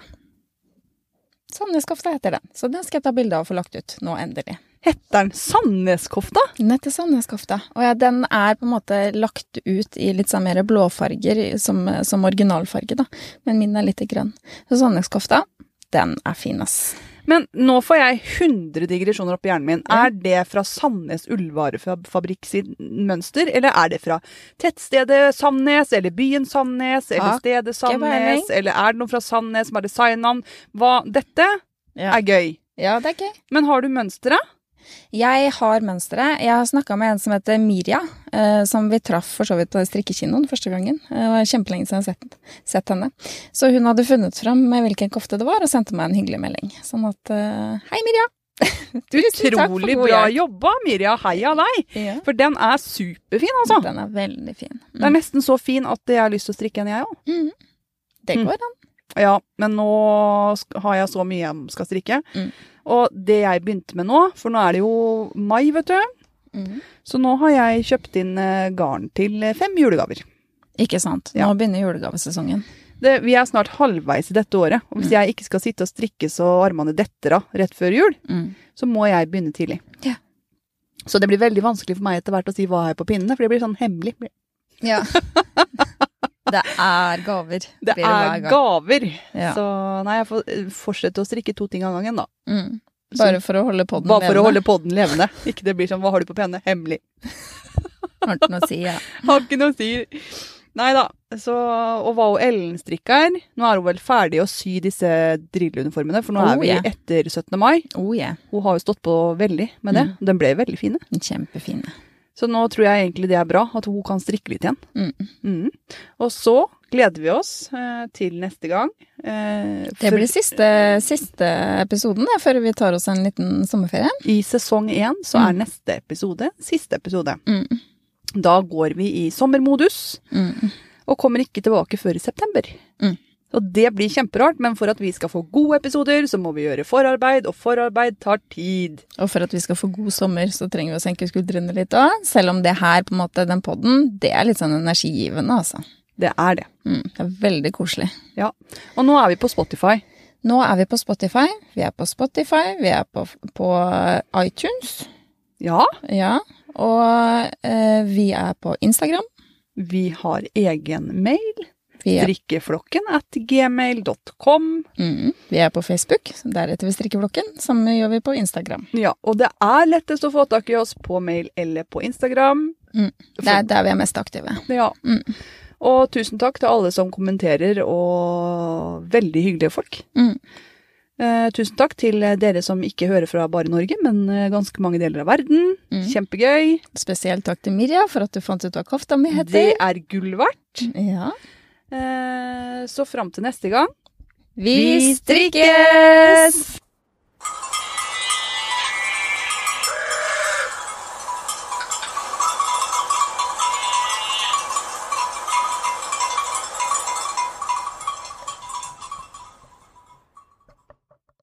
Speaker 1: Sandneskofta heter den, så den skal jeg ta bilde av og få lagt ut nå, endelig.
Speaker 2: Heter den Sandneskofta?
Speaker 1: Den heter Sandneskofta, og ja, den er på en måte lagt ut i litt sånn mer blåfarger som, som originalfarge, da. Men min er litt i grønn. Så Sandneskofta, den er fin, ass.
Speaker 2: Men nå får jeg 100 digresjoner opp i hjernen min.
Speaker 1: Ja.
Speaker 2: Er det fra Sandnes Ullvarefabrikk sitt mønster, eller er det fra tettstedet Sandnes, eller byen Sandnes, eller
Speaker 1: Har
Speaker 2: stedet
Speaker 1: peiling.
Speaker 2: Sandnes, eller er det noe fra Sandnes som er designnavn? Hva Dette
Speaker 1: Ja.
Speaker 2: er gøy.
Speaker 1: Ja, det er gøy.
Speaker 2: Men har du mønsteret?
Speaker 1: Jeg har mønsteret. Jeg har snakka med en som heter Mirja, eh, som vi traff for så vidt på strikkekinoen første gangen. Eh, Det var kjempelenge siden jeg har sett, sett henne. Så hun hadde funnet fram med hvilken kofte det var, og sendte meg en hyggelig melding. Sånn at eh, Hei, Mirja! Tusen takk for
Speaker 2: Utrolig
Speaker 1: god
Speaker 2: bra
Speaker 1: hjelp.
Speaker 2: jobba, Mirja. Heia deg!
Speaker 1: Ja.
Speaker 2: For den er superfin, altså.
Speaker 1: Den er veldig fin.
Speaker 2: Den er nesten så fin at jeg har lyst til å strikke en, jeg òg.
Speaker 1: Mhm. Det
Speaker 2: Mm.
Speaker 1: går an.
Speaker 2: Ja, men nå sk- har jeg så mye jeg skal strikke.
Speaker 1: Mm.
Speaker 2: Og det jeg begynte med nå, for nå er det jo mai, vet du.
Speaker 1: Mhm.
Speaker 2: Så nå har jeg kjøpt inn eh, garn til eh, fem julegaver.
Speaker 1: Ikke sant. Nå
Speaker 2: Ja.
Speaker 1: begynner julegavesesongen.
Speaker 2: Det, vi er snart halvveis i dette året, og
Speaker 1: Mm.
Speaker 2: hvis jeg ikke skal sitte og strikke så armene detter av rett før jul,
Speaker 1: Mm.
Speaker 2: så må jeg begynne tidlig.
Speaker 1: Ja.
Speaker 2: Så det blir veldig vanskelig for meg etter hvert å si hva er på pinnene, for det blir sånn hemmelig.
Speaker 1: Ja. det er gaver.
Speaker 2: Det
Speaker 1: blir hver
Speaker 2: er
Speaker 1: gang.
Speaker 2: gaver!
Speaker 1: Ja.
Speaker 2: Så nei, jeg får eh, fortsette å strikke to ting av gangen, da.
Speaker 1: Mm. Bare for å holde podden
Speaker 2: Bare for å
Speaker 1: levende.
Speaker 2: holde podden levende. Ikke det blir sånn 'hva har du på penne?' Hemmelig.
Speaker 1: Har den å si, ja.
Speaker 2: Har ikke noe å si. Nei da. Så, og hva og Ellen strikker Nå er hun vel ferdig å sy disse drilluniformene, for nå
Speaker 1: Oh,
Speaker 2: er vi
Speaker 1: ja.
Speaker 2: etter 17. mai.
Speaker 1: Oh yeah.
Speaker 2: Hun har jo stått på veldig
Speaker 1: Mm.
Speaker 2: med det. Den ble veldig fine.
Speaker 1: Kjempefine.
Speaker 2: Så nå tror jeg egentlig det er bra, at hun kan strikke litt igjen.
Speaker 1: Mm.
Speaker 2: Mm. Og så gleder vi oss eh, til neste gang. Eh,
Speaker 1: Det
Speaker 2: for-
Speaker 1: blir siste, siste episoden det, før vi tar oss en liten sommerferie.
Speaker 2: I sesong én så er neste episode siste episode.
Speaker 1: Mm.
Speaker 2: Da går vi i sommermodus.
Speaker 1: Mm.
Speaker 2: og kommer ikke tilbake før i september.
Speaker 1: Mm.
Speaker 2: Og det blir kjemperart, men for at vi skal få gode episoder, så må vi gjøre forarbeid, og forarbeid tar tid.
Speaker 1: Og for at vi skal få god sommer, så trenger vi å senke skuldrene litt òg. Selv om det her, på en måte, den podden, det er litt sånn energigivende, altså.
Speaker 2: Det er det.
Speaker 1: Mm. Det er veldig koselig.
Speaker 2: Ja. Og nå er vi på Spotify.
Speaker 1: Nå er vi på Spotify. Vi er på Spotify, vi er på, på iTunes.
Speaker 2: Ja,
Speaker 1: Ja. Og eh, vi er på Instagram.
Speaker 2: vi har egen mail.
Speaker 1: Vi er,
Speaker 2: Strikkeflokken at gmail.com.
Speaker 1: mm, vi er på Facebook. så Deretter vi strikkeblokken. Samme gjør vi på Instagram.
Speaker 2: Ja, og det er lettest å få tak i oss på mail eller på Instagram.
Speaker 1: Mm. Det er der vi er mest aktive.
Speaker 2: Ja.
Speaker 1: Mm.
Speaker 2: Og tusen takk til alle som kommenterer, og veldig hyggelige folk.
Speaker 1: Mm.
Speaker 2: Eh, tusen takk til dere som ikke hører fra bare Norge, men eh, ganske mange deler av verden.
Speaker 1: Mm.
Speaker 2: Kjempegøy.
Speaker 1: Spesielt takk til Mirja for at du fant ut hva kofta mi
Speaker 2: Det
Speaker 1: heter.
Speaker 2: er gull verdt.
Speaker 1: Ja.
Speaker 2: Eh, så fram til neste gang
Speaker 1: Vi strikkes!
Speaker 2: strikkes!